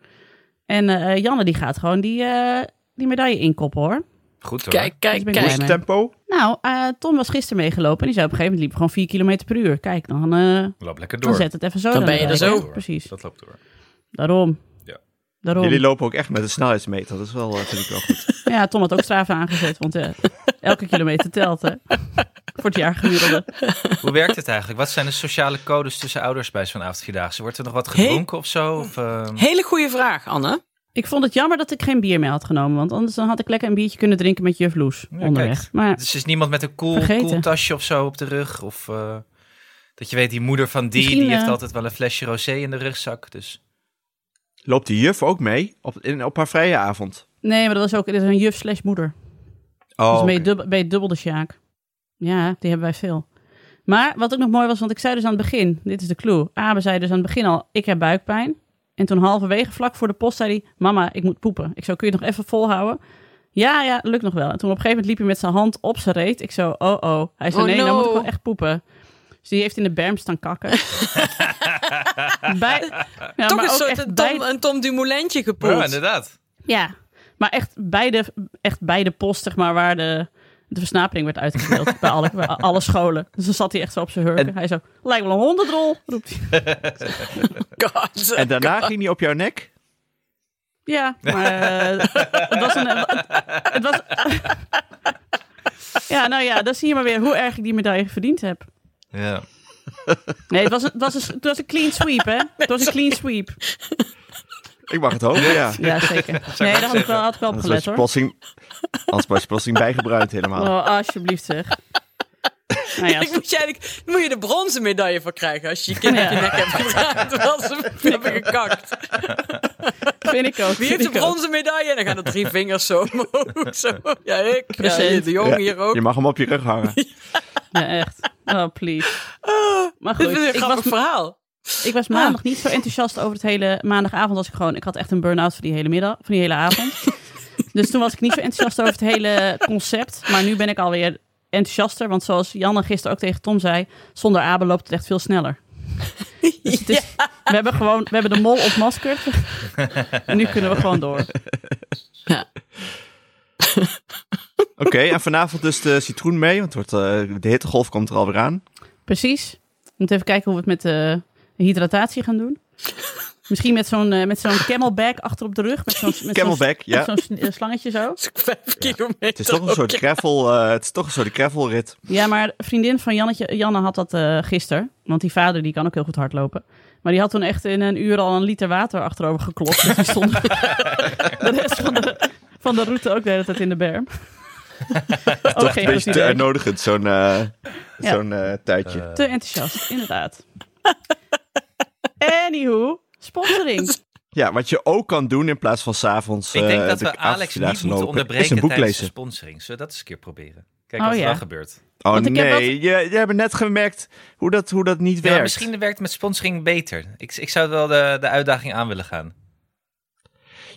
[SPEAKER 2] En eh, Janne die gaat gewoon die, eh, die medaille inkoppen hoor.
[SPEAKER 3] <laughs> Goed hoor.
[SPEAKER 1] Kijk,
[SPEAKER 2] Dus
[SPEAKER 1] kijk,
[SPEAKER 2] ben ik
[SPEAKER 4] Hoe
[SPEAKER 1] kijk.
[SPEAKER 4] is het
[SPEAKER 2] Kleiner.
[SPEAKER 4] tempo?
[SPEAKER 2] Nou, eh, Tom was gisteren meegelopen en die zei op een gegeven moment liep gewoon 4 kilometer per uur. Kijk, dan, eh,
[SPEAKER 3] Loop lekker door.
[SPEAKER 2] dan zet het even zo.
[SPEAKER 1] Dan ben je
[SPEAKER 2] erbij,
[SPEAKER 1] er
[SPEAKER 2] hè?
[SPEAKER 1] zo.
[SPEAKER 3] Door.
[SPEAKER 2] Precies,
[SPEAKER 3] Dat loopt door.
[SPEAKER 2] daarom.
[SPEAKER 3] Ja.
[SPEAKER 2] Daarom.
[SPEAKER 4] Jullie lopen ook echt met een snelheidsmeter. Dat is wel, eh, vind ik wel goed.
[SPEAKER 2] Ja, Tom had ook Strava aangezet, want eh, elke kilometer telt hè. <laughs> Voor het jaar gemiddelde.
[SPEAKER 3] Hoe werkt het eigenlijk? Wat zijn de sociale codes tussen ouders bij zo'n avondvierdaagse? Wordt er nog wat gedronken of zo? Of, eh,
[SPEAKER 1] Hele goede vraag, Anne.
[SPEAKER 2] Ik vond het jammer dat ik geen bier mee had genomen, want anders dan had ik lekker een biertje kunnen drinken met juf Loes
[SPEAKER 3] Ja,
[SPEAKER 2] onderweg.
[SPEAKER 3] kijk.
[SPEAKER 2] Maar
[SPEAKER 3] Dus is niemand met een cool,
[SPEAKER 2] Vergeten.
[SPEAKER 3] cool tasje of zo op de rug? Of eh, dat je weet, die moeder van die,
[SPEAKER 2] Misschien,
[SPEAKER 3] die heeft
[SPEAKER 2] eh,
[SPEAKER 3] altijd wel een flesje rosé in de rugzak. Dus
[SPEAKER 4] Loopt die juf ook mee op, in, op haar vrije avond?
[SPEAKER 2] nee, maar dat was ook dat is een juf slash moeder.
[SPEAKER 4] Oh,
[SPEAKER 2] dus ben, je
[SPEAKER 4] oké.
[SPEAKER 2] dubbel, ben je dubbel de Sjaak. Ja, die hebben wij veel. Maar wat ook nog mooi was, want ik zei dus aan het begin, dit is de clue. Abe zei dus aan het begin al, ik heb buikpijn. En toen halverwege, vlak voor de post, zei hij, mama, ik moet poepen. Ik zo, kun je het nog even volhouden? Ja, ja, lukt nog wel. En toen op een gegeven moment liep hij met zijn hand op zijn reet. Ik zo, oh, oh. Hij zei,
[SPEAKER 1] Oh,
[SPEAKER 2] nee,
[SPEAKER 1] no.
[SPEAKER 2] dan moet ik wel echt poepen. Dus die heeft in de berm staan
[SPEAKER 1] <laughs>
[SPEAKER 2] kakken. Bij, ja,
[SPEAKER 1] Toch
[SPEAKER 2] maar
[SPEAKER 1] een
[SPEAKER 2] ook
[SPEAKER 1] soort
[SPEAKER 2] echt
[SPEAKER 1] Tom,
[SPEAKER 2] bij-
[SPEAKER 1] een Tom Dumoulintje
[SPEAKER 3] Ja,
[SPEAKER 1] gepoeld.
[SPEAKER 3] inderdaad.
[SPEAKER 2] ja, maar echt bij de, echt bij de post, zeg maar, waar de, de versnapering werd uitgedeeld. bij, alle, bij alle scholen. Dus dan zat hij echt zo op zijn hurken.
[SPEAKER 4] En-
[SPEAKER 2] Hij zo, lijkt wel een hondendrol, roept hij.
[SPEAKER 1] God.
[SPEAKER 4] En daarna ging hij op jouw nek?
[SPEAKER 2] Ja, maar eh, het was een... Het, het was... Ja, nou ja, dan zie je maar weer hoe erg ik die medaille verdiend heb.
[SPEAKER 3] Ja.
[SPEAKER 2] Nee, het was een, het was een, het was een clean sweep, hè? Het was een clean sweep.
[SPEAKER 4] Ik mag het hopen, ja.
[SPEAKER 2] Ja, zeker. Nee, daar had ik wel, had ik wel op
[SPEAKER 4] Anders
[SPEAKER 2] gelet,
[SPEAKER 4] was je
[SPEAKER 2] hoor.
[SPEAKER 4] plotseling, anders was je plotseling bijgebruikt helemaal.
[SPEAKER 2] Oh, alsjeblieft, zeg. Nou
[SPEAKER 1] <laughs>
[SPEAKER 2] ja,
[SPEAKER 1] Ik moet je eigenlijk, dan moet je de bronzen medaille voor krijgen als je je kind op je
[SPEAKER 2] Ja.
[SPEAKER 1] nek hebt gedraaid <laughs> terwijl ze hem hebben gekakt.
[SPEAKER 2] vind ik ook.
[SPEAKER 1] Wie heeft
[SPEAKER 2] vind
[SPEAKER 1] de
[SPEAKER 2] ik ook.
[SPEAKER 1] bronzen medaille? En dan gaan de drie vingers zo omhoog. <laughs> Zo. Ja, ik. Ja,
[SPEAKER 2] Present.
[SPEAKER 1] hier, de jong
[SPEAKER 4] Ja,
[SPEAKER 1] hier ook.
[SPEAKER 4] Je mag hem op je rug hangen.
[SPEAKER 2] Ja, echt. Oh, please. Maar
[SPEAKER 1] Dit is
[SPEAKER 2] goed,
[SPEAKER 1] een
[SPEAKER 2] ik was,
[SPEAKER 1] grappig Ah. verhaal.
[SPEAKER 2] ik was maandag niet zo enthousiast over het hele maandagavond als ik gewoon... Ik had echt een burn-out van die hele middag, van die hele
[SPEAKER 1] <laughs>
[SPEAKER 2] avond. dus toen was ik niet zo enthousiast over het hele concept. Maar nu ben ik alweer enthousiaster. Want zoals Janne gisteren ook tegen Tom zei... Zonder Abe loopt het echt veel
[SPEAKER 1] <laughs>
[SPEAKER 2] sneller. Dus het is- we hebben gewoon we hebben de mol
[SPEAKER 1] <laughs>
[SPEAKER 2] ontmaskerd. en nu kunnen we gewoon door.
[SPEAKER 4] Oké, en vanavond dus de citroen mee, want het wordt, eh, de hittegolf komt er alweer aan.
[SPEAKER 2] Precies. We moeten even kijken hoe we het met de hydratatie gaan
[SPEAKER 4] <laughs>
[SPEAKER 2] doen. Misschien met zo'n eh, met zo'n camelback achter op de rug. Met zo'n met zo'n-
[SPEAKER 4] Camelback, ja.
[SPEAKER 2] met zo'n sn- eh, slangetje zo.
[SPEAKER 1] Het is Vijf kilometer.
[SPEAKER 4] Het is toch een soort gravel, eh, het is toch een soort gravelrit.
[SPEAKER 2] Ja, maar een vriendin van Jannetje, Janne had dat eh gisteren. Want die vader die kan ook heel goed hardlopen. Maar die had toen echt in een uur al een liter water achterover geklopt. Dus die stond <laughs> de rest van de, van de route ook de hele tijd in de
[SPEAKER 4] <laughs>
[SPEAKER 2] berm. ook geen
[SPEAKER 4] Een
[SPEAKER 2] goed
[SPEAKER 4] beetje te
[SPEAKER 2] idee.
[SPEAKER 4] uitnodigend, zo'n eh,
[SPEAKER 2] Ja.
[SPEAKER 4] zo'n eh, tijdje.
[SPEAKER 2] Te enthousiast, inderdaad. Anywho, sponsoring.
[SPEAKER 4] <laughs> ja, wat je ook kan doen in plaats van s'avonds...
[SPEAKER 3] Ik denk
[SPEAKER 4] eh,
[SPEAKER 3] dat
[SPEAKER 4] de
[SPEAKER 3] we Alex
[SPEAKER 4] avondvierdaagse
[SPEAKER 3] niet moeten
[SPEAKER 4] lopen, is
[SPEAKER 3] onderbreken
[SPEAKER 4] een boek
[SPEAKER 3] tijdens de
[SPEAKER 4] lezen.
[SPEAKER 3] sponsoring. Zullen we dat eens een keer proberen? Kijk
[SPEAKER 2] Oh,
[SPEAKER 3] wat
[SPEAKER 2] ja.
[SPEAKER 3] er dan gebeurt.
[SPEAKER 4] Oh
[SPEAKER 2] Want ik heb
[SPEAKER 4] nee, je, je hebt net gemerkt hoe dat, hoe dat niet
[SPEAKER 3] Ja,
[SPEAKER 4] werkt.
[SPEAKER 3] misschien werkt het met sponsoring beter. Ik, ik zou wel de, de uitdaging aan willen gaan.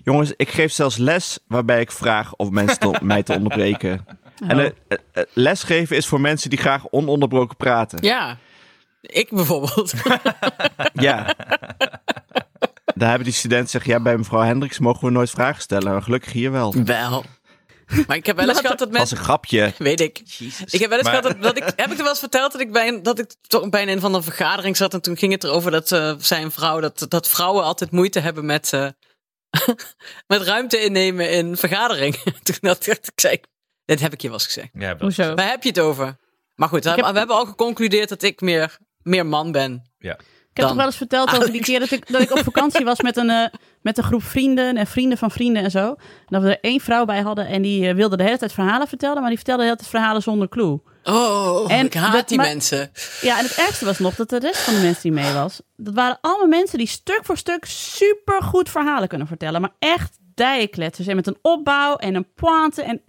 [SPEAKER 4] Jongens, ik geef zelfs les waarbij ik vraag of mensen te- mij te
[SPEAKER 3] <laughs>
[SPEAKER 4] onderbreken.
[SPEAKER 3] Oh.
[SPEAKER 4] En eh, eh, eh, lesgeven is voor mensen die graag ononderbroken praten.
[SPEAKER 1] Ja. Ik bijvoorbeeld.
[SPEAKER 4] Ja. Daar hebben die studenten gezegd, ja, bij mevrouw Hendricks mogen we nooit vragen stellen. Maar gelukkig hier wel.
[SPEAKER 1] <laughs> wel. Maar ik heb wel eens gehad dat
[SPEAKER 4] Als
[SPEAKER 1] mensen...
[SPEAKER 4] een grapje.
[SPEAKER 1] Weet ik. Ik heb wel eens
[SPEAKER 3] Maar-
[SPEAKER 1] gehad dat, dat ik... Heb ik er wel eens verteld dat ik bij een, dat ik toch bij een van de vergadering zat. En toen ging het erover dat eh, zijn vrouw... Dat, dat vrouwen altijd moeite hebben met... eh, <laughs> met ruimte innemen in vergaderingen. <laughs> toen dacht ik, ik zei... Dit heb ik je wel eens gezegd.
[SPEAKER 3] Ja, wel.
[SPEAKER 2] Hoezo?
[SPEAKER 1] Waar heb je het over? Maar goed, we,
[SPEAKER 2] heb-
[SPEAKER 1] we hebben al geconcludeerd dat ik meer, meer man ben.
[SPEAKER 3] Ja.
[SPEAKER 2] Ik heb
[SPEAKER 1] Dan. Ah,
[SPEAKER 2] toch wel eens verteld over die keer dat ik, dat ik op vakantie was met een, eh, met een groep vrienden en vrienden van vrienden en zo. En dat we er één vrouw bij hadden en die eh, wilde de hele tijd verhalen vertellen, maar die vertelde de hele tijd verhalen zonder clue.
[SPEAKER 1] Oh,
[SPEAKER 2] En
[SPEAKER 1] ik haat
[SPEAKER 2] dat
[SPEAKER 1] die
[SPEAKER 2] ma-
[SPEAKER 1] mensen.
[SPEAKER 2] Ja, en het ergste was nog dat de rest van de mensen die mee was, dat waren allemaal mensen die stuk voor stuk supergoed verhalen kunnen vertellen. Maar echt dijkletters en met een opbouw en een pointe en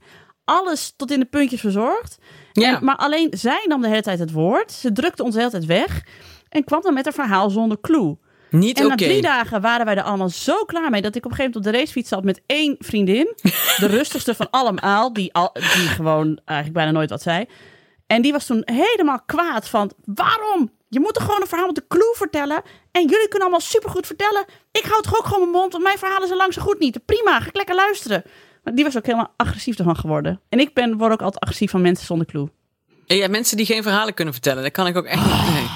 [SPEAKER 2] alles tot in de puntjes verzorgd.
[SPEAKER 1] Ja.
[SPEAKER 2] En- maar alleen zij nam de hele tijd het woord. Ze drukte ons de hele tijd weg en kwam dan met een verhaal zonder clue.
[SPEAKER 1] Niet
[SPEAKER 2] En
[SPEAKER 1] oké.
[SPEAKER 2] na drie dagen waren wij er allemaal zo klaar mee dat ik op een gegeven moment op de racefiets zat met één
[SPEAKER 1] <laughs>
[SPEAKER 2] vriendin. De rustigste van allemaal, die, al, die gewoon eigenlijk bijna nooit wat zei. En die was toen helemaal kwaad van, waarom? Je moet toch gewoon een verhaal met de clue vertellen? En jullie kunnen allemaal supergoed vertellen. Ik hou toch ook gewoon mijn mond, want mijn verhalen zijn lang zo goed niet. Prima, ga ik lekker luisteren. Maar die was ook helemaal agressief ervan geworden. En ik ben, word ook altijd agressief van mensen zonder clue.
[SPEAKER 1] En Ja, mensen die geen verhalen kunnen vertellen, daar kan ik ook echt niet. nee.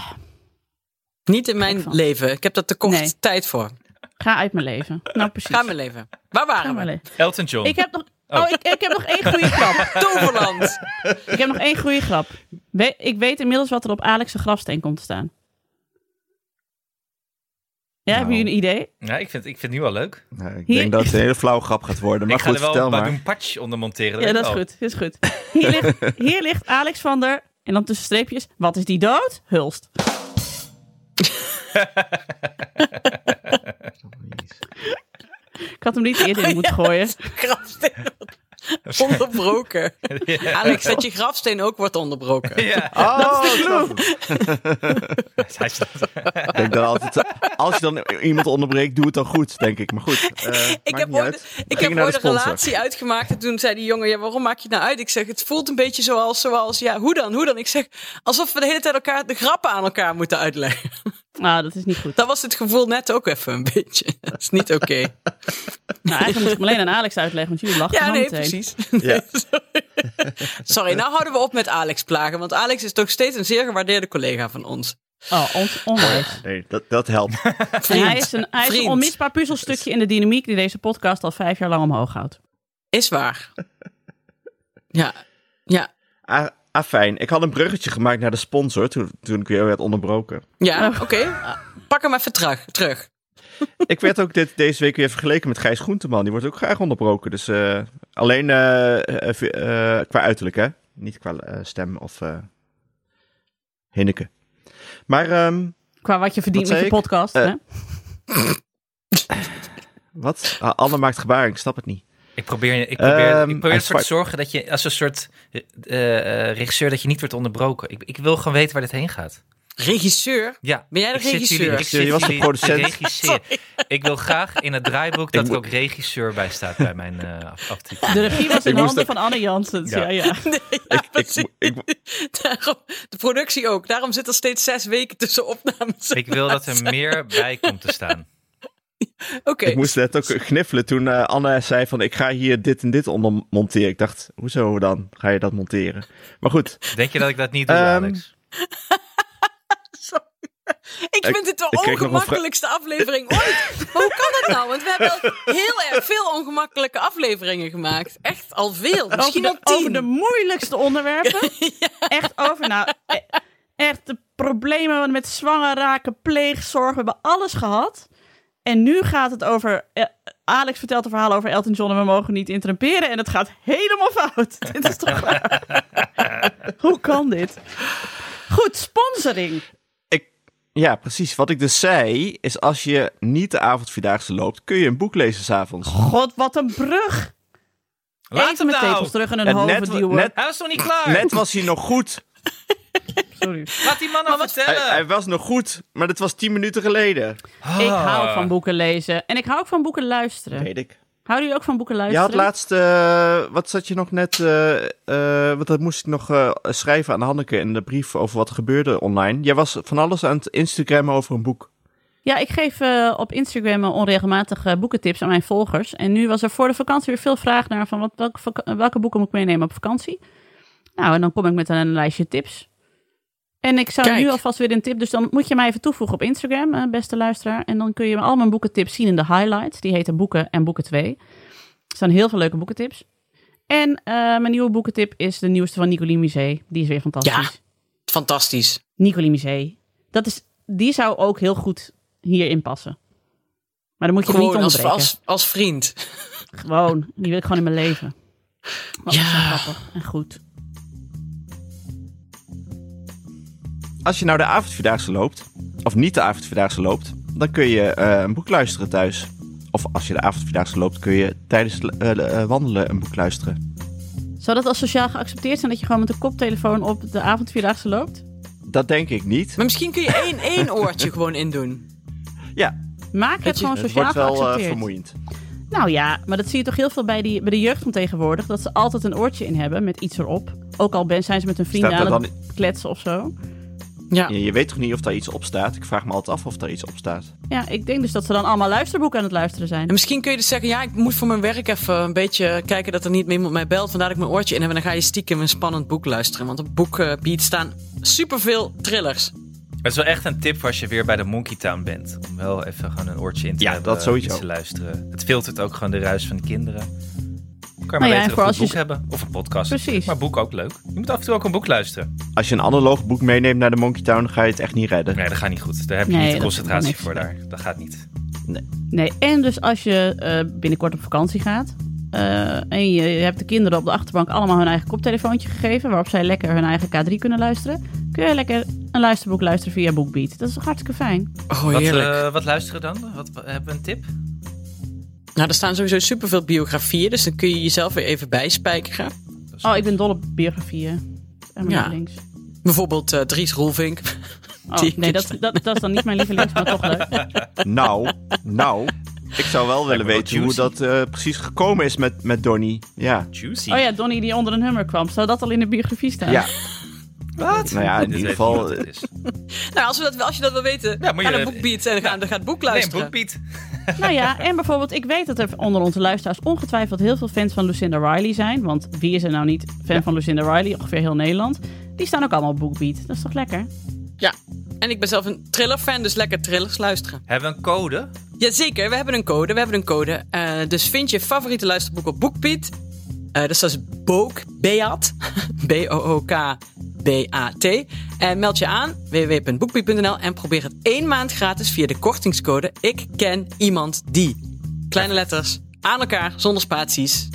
[SPEAKER 1] Niet in mijn
[SPEAKER 2] Ah. van.
[SPEAKER 1] leven. Ik heb daar te kort
[SPEAKER 2] Nee.
[SPEAKER 1] tijd voor.
[SPEAKER 2] Ga uit mijn leven. Nou, precies.
[SPEAKER 1] Ga mijn leven. Waar
[SPEAKER 2] Ga
[SPEAKER 1] waren
[SPEAKER 2] mijn
[SPEAKER 1] we?
[SPEAKER 2] leven.
[SPEAKER 3] Elton John.
[SPEAKER 2] Ik heb nog, oh, ik, ik heb nog één
[SPEAKER 1] <laughs>
[SPEAKER 2] goede grap. <laughs>
[SPEAKER 1] Toverland.
[SPEAKER 2] Ik heb nog één goede grap. We- ik weet inmiddels wat er op Alex' grafsteen komt te staan. Ja, hebben jullie een idee?
[SPEAKER 3] Ja, ik, vind, ik vind het nu al leuk.
[SPEAKER 4] Nou, ik
[SPEAKER 2] Hier-
[SPEAKER 4] denk dat het een hele flauwe grap gaat worden. Maar
[SPEAKER 3] ik ga
[SPEAKER 4] goed,
[SPEAKER 3] er wel
[SPEAKER 4] vertel
[SPEAKER 3] een
[SPEAKER 4] maar.
[SPEAKER 3] Badoen patch onder monteren.
[SPEAKER 2] Ja,
[SPEAKER 3] weet
[SPEAKER 2] dat
[SPEAKER 3] ik
[SPEAKER 2] is
[SPEAKER 3] al.
[SPEAKER 2] goed. Dat is goed. Hier ligt, hier ligt Alex van der... En dan tussen streepjes, wat is die dood? Hulst.
[SPEAKER 1] <laughs>
[SPEAKER 2] Ik had hem niet eerder in moeten gooien.
[SPEAKER 4] <laughs>
[SPEAKER 1] Grafsteen. onderbroken. Alex, dat je grafsteen ook wordt onderbroken.
[SPEAKER 3] <laughs> Ja.
[SPEAKER 4] Oh, <laughs> dat is de
[SPEAKER 3] Hij staat-
[SPEAKER 4] Ik denk dan altijd, als je dan iemand onderbreekt, doe het dan goed, denk ik. Maar
[SPEAKER 1] <laughs>
[SPEAKER 4] goed, eh,
[SPEAKER 1] Ik
[SPEAKER 4] maakt
[SPEAKER 1] heb,
[SPEAKER 4] niet
[SPEAKER 1] ooit,
[SPEAKER 4] uit.
[SPEAKER 1] ik
[SPEAKER 4] Ging
[SPEAKER 1] heb
[SPEAKER 4] naar
[SPEAKER 1] ooit
[SPEAKER 4] de
[SPEAKER 1] een
[SPEAKER 4] sponsor.
[SPEAKER 1] relatie uitgemaakt. En toen zei die jongen, ja, waarom maak je het nou uit? Ik zeg, het voelt een beetje zoals, zoals ja, hoe dan, hoe dan? Ik zeg, alsof we de hele tijd elkaar de grappen aan elkaar moeten uitleggen.
[SPEAKER 2] Nou, dat is niet goed.
[SPEAKER 1] Dat was het gevoel net ook even een beetje. Dat is niet
[SPEAKER 2] <laughs>
[SPEAKER 1] oké.
[SPEAKER 2] Nou, eigenlijk moet ik hem alleen aan Alex uitleggen, want jullie lachen
[SPEAKER 1] Ja,
[SPEAKER 2] dan
[SPEAKER 1] nee,
[SPEAKER 2] meteen.
[SPEAKER 1] precies.
[SPEAKER 4] Ja.
[SPEAKER 1] Sorry. Sorry, nou houden we op met Alex plagen. Want Alex is toch steeds een zeer gewaardeerde collega van ons.
[SPEAKER 2] Oh, on onwijs.
[SPEAKER 4] Nee, dat, dat helpt.
[SPEAKER 2] En
[SPEAKER 1] Vriend.
[SPEAKER 2] hij is een, hij is een
[SPEAKER 1] Vriend.
[SPEAKER 2] onmisbaar puzzelstukje in de dynamiek die deze podcast al vijf jaar lang omhoog houdt.
[SPEAKER 1] Is waar. Ja. Ja.
[SPEAKER 4] Ah, ah, fijn. Ik had een bruggetje gemaakt naar de sponsor toen, toen ik weer werd onderbroken.
[SPEAKER 1] Ja,
[SPEAKER 4] Oh.
[SPEAKER 1] oké. Pak hem even terug. terug.
[SPEAKER 4] ik werd ook dit, deze week weer vergeleken met Gijs Groenteman. Die wordt ook graag onderbroken. Dus eh, alleen eh, eh, eh, qua uiterlijk, hè? Niet qua eh, stem of eh hinneke. Maar ehm,
[SPEAKER 2] Qua wat je verdient
[SPEAKER 4] Wat
[SPEAKER 2] met
[SPEAKER 4] zei
[SPEAKER 2] je
[SPEAKER 4] ik?
[SPEAKER 2] podcast.
[SPEAKER 4] Eh,
[SPEAKER 2] hè?
[SPEAKER 4] wat? Ah, Anne maakt gebaar, ik snap het niet.
[SPEAKER 3] Ik probeer, ik probeer,
[SPEAKER 4] Ehm,
[SPEAKER 3] ik probeer ervoor
[SPEAKER 4] hij
[SPEAKER 3] te
[SPEAKER 4] swipe.
[SPEAKER 3] zorgen dat je als een soort eh, eh, regisseur dat je niet wordt onderbroken. Ik, ik wil gewoon weten waar dit heen gaat.
[SPEAKER 1] Regisseur.
[SPEAKER 3] Ja.
[SPEAKER 1] Ben jij de
[SPEAKER 3] ik zit
[SPEAKER 1] regisseur?
[SPEAKER 3] jullie- ik
[SPEAKER 4] Regisseur,
[SPEAKER 3] zit
[SPEAKER 4] je was de
[SPEAKER 3] jullie te
[SPEAKER 4] producent.
[SPEAKER 3] regisseren. Ik wil graag in het draaiboek dat er ook regisseur bij staat bij mijn eh af- aftiteling.
[SPEAKER 2] De regie
[SPEAKER 4] <laughs>
[SPEAKER 2] was in
[SPEAKER 4] moest
[SPEAKER 2] handen
[SPEAKER 4] ook-
[SPEAKER 2] van Anne Janssens. Ja.
[SPEAKER 3] Ja.
[SPEAKER 2] Ja,
[SPEAKER 1] <laughs> Ja,
[SPEAKER 4] ik,
[SPEAKER 1] precies.
[SPEAKER 4] ik, ik-
[SPEAKER 1] Daarom, de productie ook. Daarom zit er steeds zes weken tussen opnames.
[SPEAKER 3] Ik wil dat er meer bij komt te staan.
[SPEAKER 1] Oké.
[SPEAKER 4] ik moest net ook gniffelen toen eh, Anne zei van ik ga hier dit en dit onder monteren. Ik dacht, hoezo dan ga je dat monteren? Maar goed,
[SPEAKER 3] Denk je dat ik dat niet doe,
[SPEAKER 4] Ehm,
[SPEAKER 3] Alex?
[SPEAKER 1] Ik vind dit de
[SPEAKER 4] ik kreeg nog een
[SPEAKER 1] ongemakkelijkste aflevering ooit. Maar hoe kan dat nou? Want we hebben al heel erg veel ongemakkelijke afleveringen gemaakt. Echt al veel.
[SPEAKER 2] Over,
[SPEAKER 1] Misschien
[SPEAKER 2] de,
[SPEAKER 1] wel
[SPEAKER 2] over
[SPEAKER 1] tien.
[SPEAKER 2] de moeilijkste
[SPEAKER 1] <laughs>
[SPEAKER 2] onderwerpen. Echt over, nou, e- echt de problemen met zwanger raken, pleegzorg. We hebben alles gehad. En nu gaat het over... eh, Alex vertelt een verhaal over Elton John en we mogen niet interrumperen. En het gaat helemaal fout. <laughs> dit is toch waar?
[SPEAKER 4] <laughs>
[SPEAKER 2] Hoe kan dit? Goed, sponsoring.
[SPEAKER 4] ik, ja precies. Wat ik dus zei is als je niet de avondvierdaagse loopt, kun je een boek lezen s'avonds.
[SPEAKER 2] God, wat een brug.
[SPEAKER 3] Laat
[SPEAKER 2] Even
[SPEAKER 3] hem
[SPEAKER 2] met
[SPEAKER 3] nou!
[SPEAKER 2] tepels terug en een
[SPEAKER 4] En
[SPEAKER 2] halve
[SPEAKER 4] net-
[SPEAKER 2] duwen.
[SPEAKER 4] net-
[SPEAKER 3] Hij was nog niet klaar!
[SPEAKER 4] Net was hij nog goed.
[SPEAKER 2] Sorry.
[SPEAKER 3] Laat die man nou
[SPEAKER 4] Hij,
[SPEAKER 3] vertellen!
[SPEAKER 4] hij was nog goed, maar dat was tien minuten geleden.
[SPEAKER 2] Ik hou
[SPEAKER 3] Ah.
[SPEAKER 2] van boeken lezen. En ik hou ook van boeken luisteren.
[SPEAKER 4] Weet ik.
[SPEAKER 2] Houden jullie ook van boeken
[SPEAKER 4] Je
[SPEAKER 2] luisteren?
[SPEAKER 4] had laatst, eh, wat zat je nog net, eh, eh, want dat moest ik nog eh, schrijven aan Hanneke in de brief over wat er gebeurde online. Jij was van alles aan het Instagrammen over een boek.
[SPEAKER 2] Ja, ik geef eh, op Instagram onregelmatige boekentips aan mijn volgers. En nu was er voor de vakantie weer veel vraag naar van wat, welke, vak- welke boeken moet ik meenemen op vakantie. Nou, en dan kom ik met een lijstje tips. En ik zou
[SPEAKER 1] Kijk.
[SPEAKER 2] nu alvast weer een tip, dus dan moet je mij even toevoegen op Instagram, eh, beste luisteraar. En dan kun je al mijn boekentips zien in de highlights. Die heten Boeken en Boeken 2. Er staan heel veel leuke boekentips. En eh, mijn nieuwe boekentip is de nieuwste van Nicolie Musée. Die is weer fantastisch.
[SPEAKER 1] Ja. Fantastisch.
[SPEAKER 2] Nicolie Musée. Dat is, die zou ook heel goed hierin passen. Maar dan moet je hem
[SPEAKER 1] Gewoon
[SPEAKER 2] niet
[SPEAKER 1] als,
[SPEAKER 2] onderbreken.
[SPEAKER 1] als, als vriend.
[SPEAKER 2] Gewoon, die wil ik gewoon in mijn leven. Wat
[SPEAKER 1] Ja.
[SPEAKER 2] is dat grappig en goed.
[SPEAKER 4] Als je nou de avondvierdaagse loopt, of niet de avondvierdaagse loopt, dan kun je eh, een boek luisteren thuis. Of als je de avondvierdaagse loopt, kun je tijdens het eh, eh, wandelen een boek luisteren.
[SPEAKER 2] Zou dat als sociaal geaccepteerd zijn dat je gewoon met een koptelefoon op de avondvierdaagse loopt?
[SPEAKER 4] Dat denk ik niet.
[SPEAKER 1] Maar misschien kun je <laughs> één, één oortje gewoon indoen.
[SPEAKER 4] Ja,
[SPEAKER 2] Maak het,
[SPEAKER 1] Het is-
[SPEAKER 2] gewoon
[SPEAKER 4] het
[SPEAKER 2] sociaal
[SPEAKER 4] wordt wel eh,
[SPEAKER 2] geaccepteerd.
[SPEAKER 4] vermoeiend.
[SPEAKER 2] Nou ja, maar dat zie je toch heel veel bij, die, bij de jeugd van tegenwoordig. Dat ze altijd een oortje in hebben met iets erop. Ook al ben, zijn ze met hun vrienden
[SPEAKER 4] Staat
[SPEAKER 2] aan
[SPEAKER 4] dat
[SPEAKER 2] het kletsen of zo.
[SPEAKER 1] Ja.
[SPEAKER 4] Je, je weet toch niet of daar iets op staat? Ik vraag me altijd af of daar iets op staat.
[SPEAKER 2] Ja, ik denk dus dat ze dan allemaal luisterboeken aan het luisteren zijn.
[SPEAKER 1] En misschien kun je dus zeggen, ja, ik moet voor mijn werk even een beetje kijken dat er niet meer iemand mij belt. Vandaar dat ik mijn oortje in heb en dan ga je stiekem een spannend boek luisteren. Want op boekgebied staan superveel thrillers.
[SPEAKER 3] Het is wel echt een tip voor als je weer bij de Monkey Town bent. Om wel even gewoon een oortje in te
[SPEAKER 4] Ja,
[SPEAKER 3] hebben. eh,
[SPEAKER 4] dat sowieso.
[SPEAKER 3] iets te luisteren. Het filtert ook gewoon de ruis van de kinderen. Dan Kan je
[SPEAKER 2] Nou
[SPEAKER 3] maar
[SPEAKER 2] ja, en
[SPEAKER 3] beter
[SPEAKER 2] voor
[SPEAKER 3] een
[SPEAKER 2] als
[SPEAKER 3] goed
[SPEAKER 2] je
[SPEAKER 3] boek
[SPEAKER 2] ze-
[SPEAKER 3] hebben. Of een podcast.
[SPEAKER 2] Precies.
[SPEAKER 3] Maar boek ook leuk. Je moet af en toe ook een boek luisteren.
[SPEAKER 4] Als je een analoog boek meeneemt naar de Monkey Town, dan ga je het echt niet redden.
[SPEAKER 3] Nee, dat gaat niet goed. Daar heb je
[SPEAKER 2] Nee,
[SPEAKER 3] niet de
[SPEAKER 2] dat
[SPEAKER 3] concentratie
[SPEAKER 2] kan
[SPEAKER 3] voor
[SPEAKER 2] niks.
[SPEAKER 3] daar. Dat gaat niet.
[SPEAKER 2] Nee, en dus als je eh, binnenkort op vakantie gaat. eh, en je, je hebt de kinderen op de achterbank allemaal hun eigen koptelefoontje gegeven. waarop zij lekker hun eigen K3 kunnen luisteren. kun je lekker een luisterboek luisteren via BookBeat. Dat is toch hartstikke fijn?
[SPEAKER 1] Oh,
[SPEAKER 3] Wat,
[SPEAKER 1] heerlijk.
[SPEAKER 3] eh, wat luisteren dan? Wat, hebben we een tip?
[SPEAKER 1] Nou, er staan sowieso superveel biografieën, dus dan kun je jezelf weer even bijspijkeren.
[SPEAKER 2] Oh, ik ben dol op biografieën. En
[SPEAKER 1] Ja.
[SPEAKER 2] ja. links.
[SPEAKER 1] Bijvoorbeeld eh, Dries Roelvink. <laughs>
[SPEAKER 2] Oh,
[SPEAKER 1] Die-
[SPEAKER 2] nee, dat, dat, dat is dan niet mijn lievelings, maar toch leuk.
[SPEAKER 4] Nou, nou. Ik zou wel willen
[SPEAKER 3] me wel
[SPEAKER 4] weten hoe
[SPEAKER 3] juicy.
[SPEAKER 4] dat eh, precies gekomen is met, met Donnie. Ja.
[SPEAKER 3] Juicy.
[SPEAKER 2] Oh ja, Donnie die onder een hummer kwam. Zou dat al in de biografie staan?
[SPEAKER 4] ja.
[SPEAKER 3] Wat?
[SPEAKER 4] Nou ja, in ieder geval-
[SPEAKER 1] Nou, als, we dat, als je dat wil weten,
[SPEAKER 3] Ja, moet
[SPEAKER 1] ga
[SPEAKER 3] je-
[SPEAKER 1] naar BookBeat en ga, dan gaat boek
[SPEAKER 3] Nee,
[SPEAKER 1] luisteren.
[SPEAKER 3] BookBeat.
[SPEAKER 2] Nou ja, en bijvoorbeeld, ik weet dat er onder onze luisteraars ongetwijfeld heel veel fans van Lucinda Riley zijn. Want wie is er nou niet fan van Lucinda Riley? Ongeveer heel Nederland. Die staan ook allemaal op BookBeat. Dat is toch lekker?
[SPEAKER 1] ja. En ik ben zelf een thriller-fan, dus lekker thrillers luisteren.
[SPEAKER 3] Hebben we een code?
[SPEAKER 1] Jazeker, we hebben een code. We hebben een code. Eh, dus vind je favoriete luisterboek op BookBeat. Eh, dus dat is Book, <laughs> Beat, B-O-O-K, B-A-T. En meld je aan, www.bookbeat.nl. En probeer het één maand gratis via de kortingscode Ik ken iemand die. Kleine letters, aan elkaar, zonder spaties.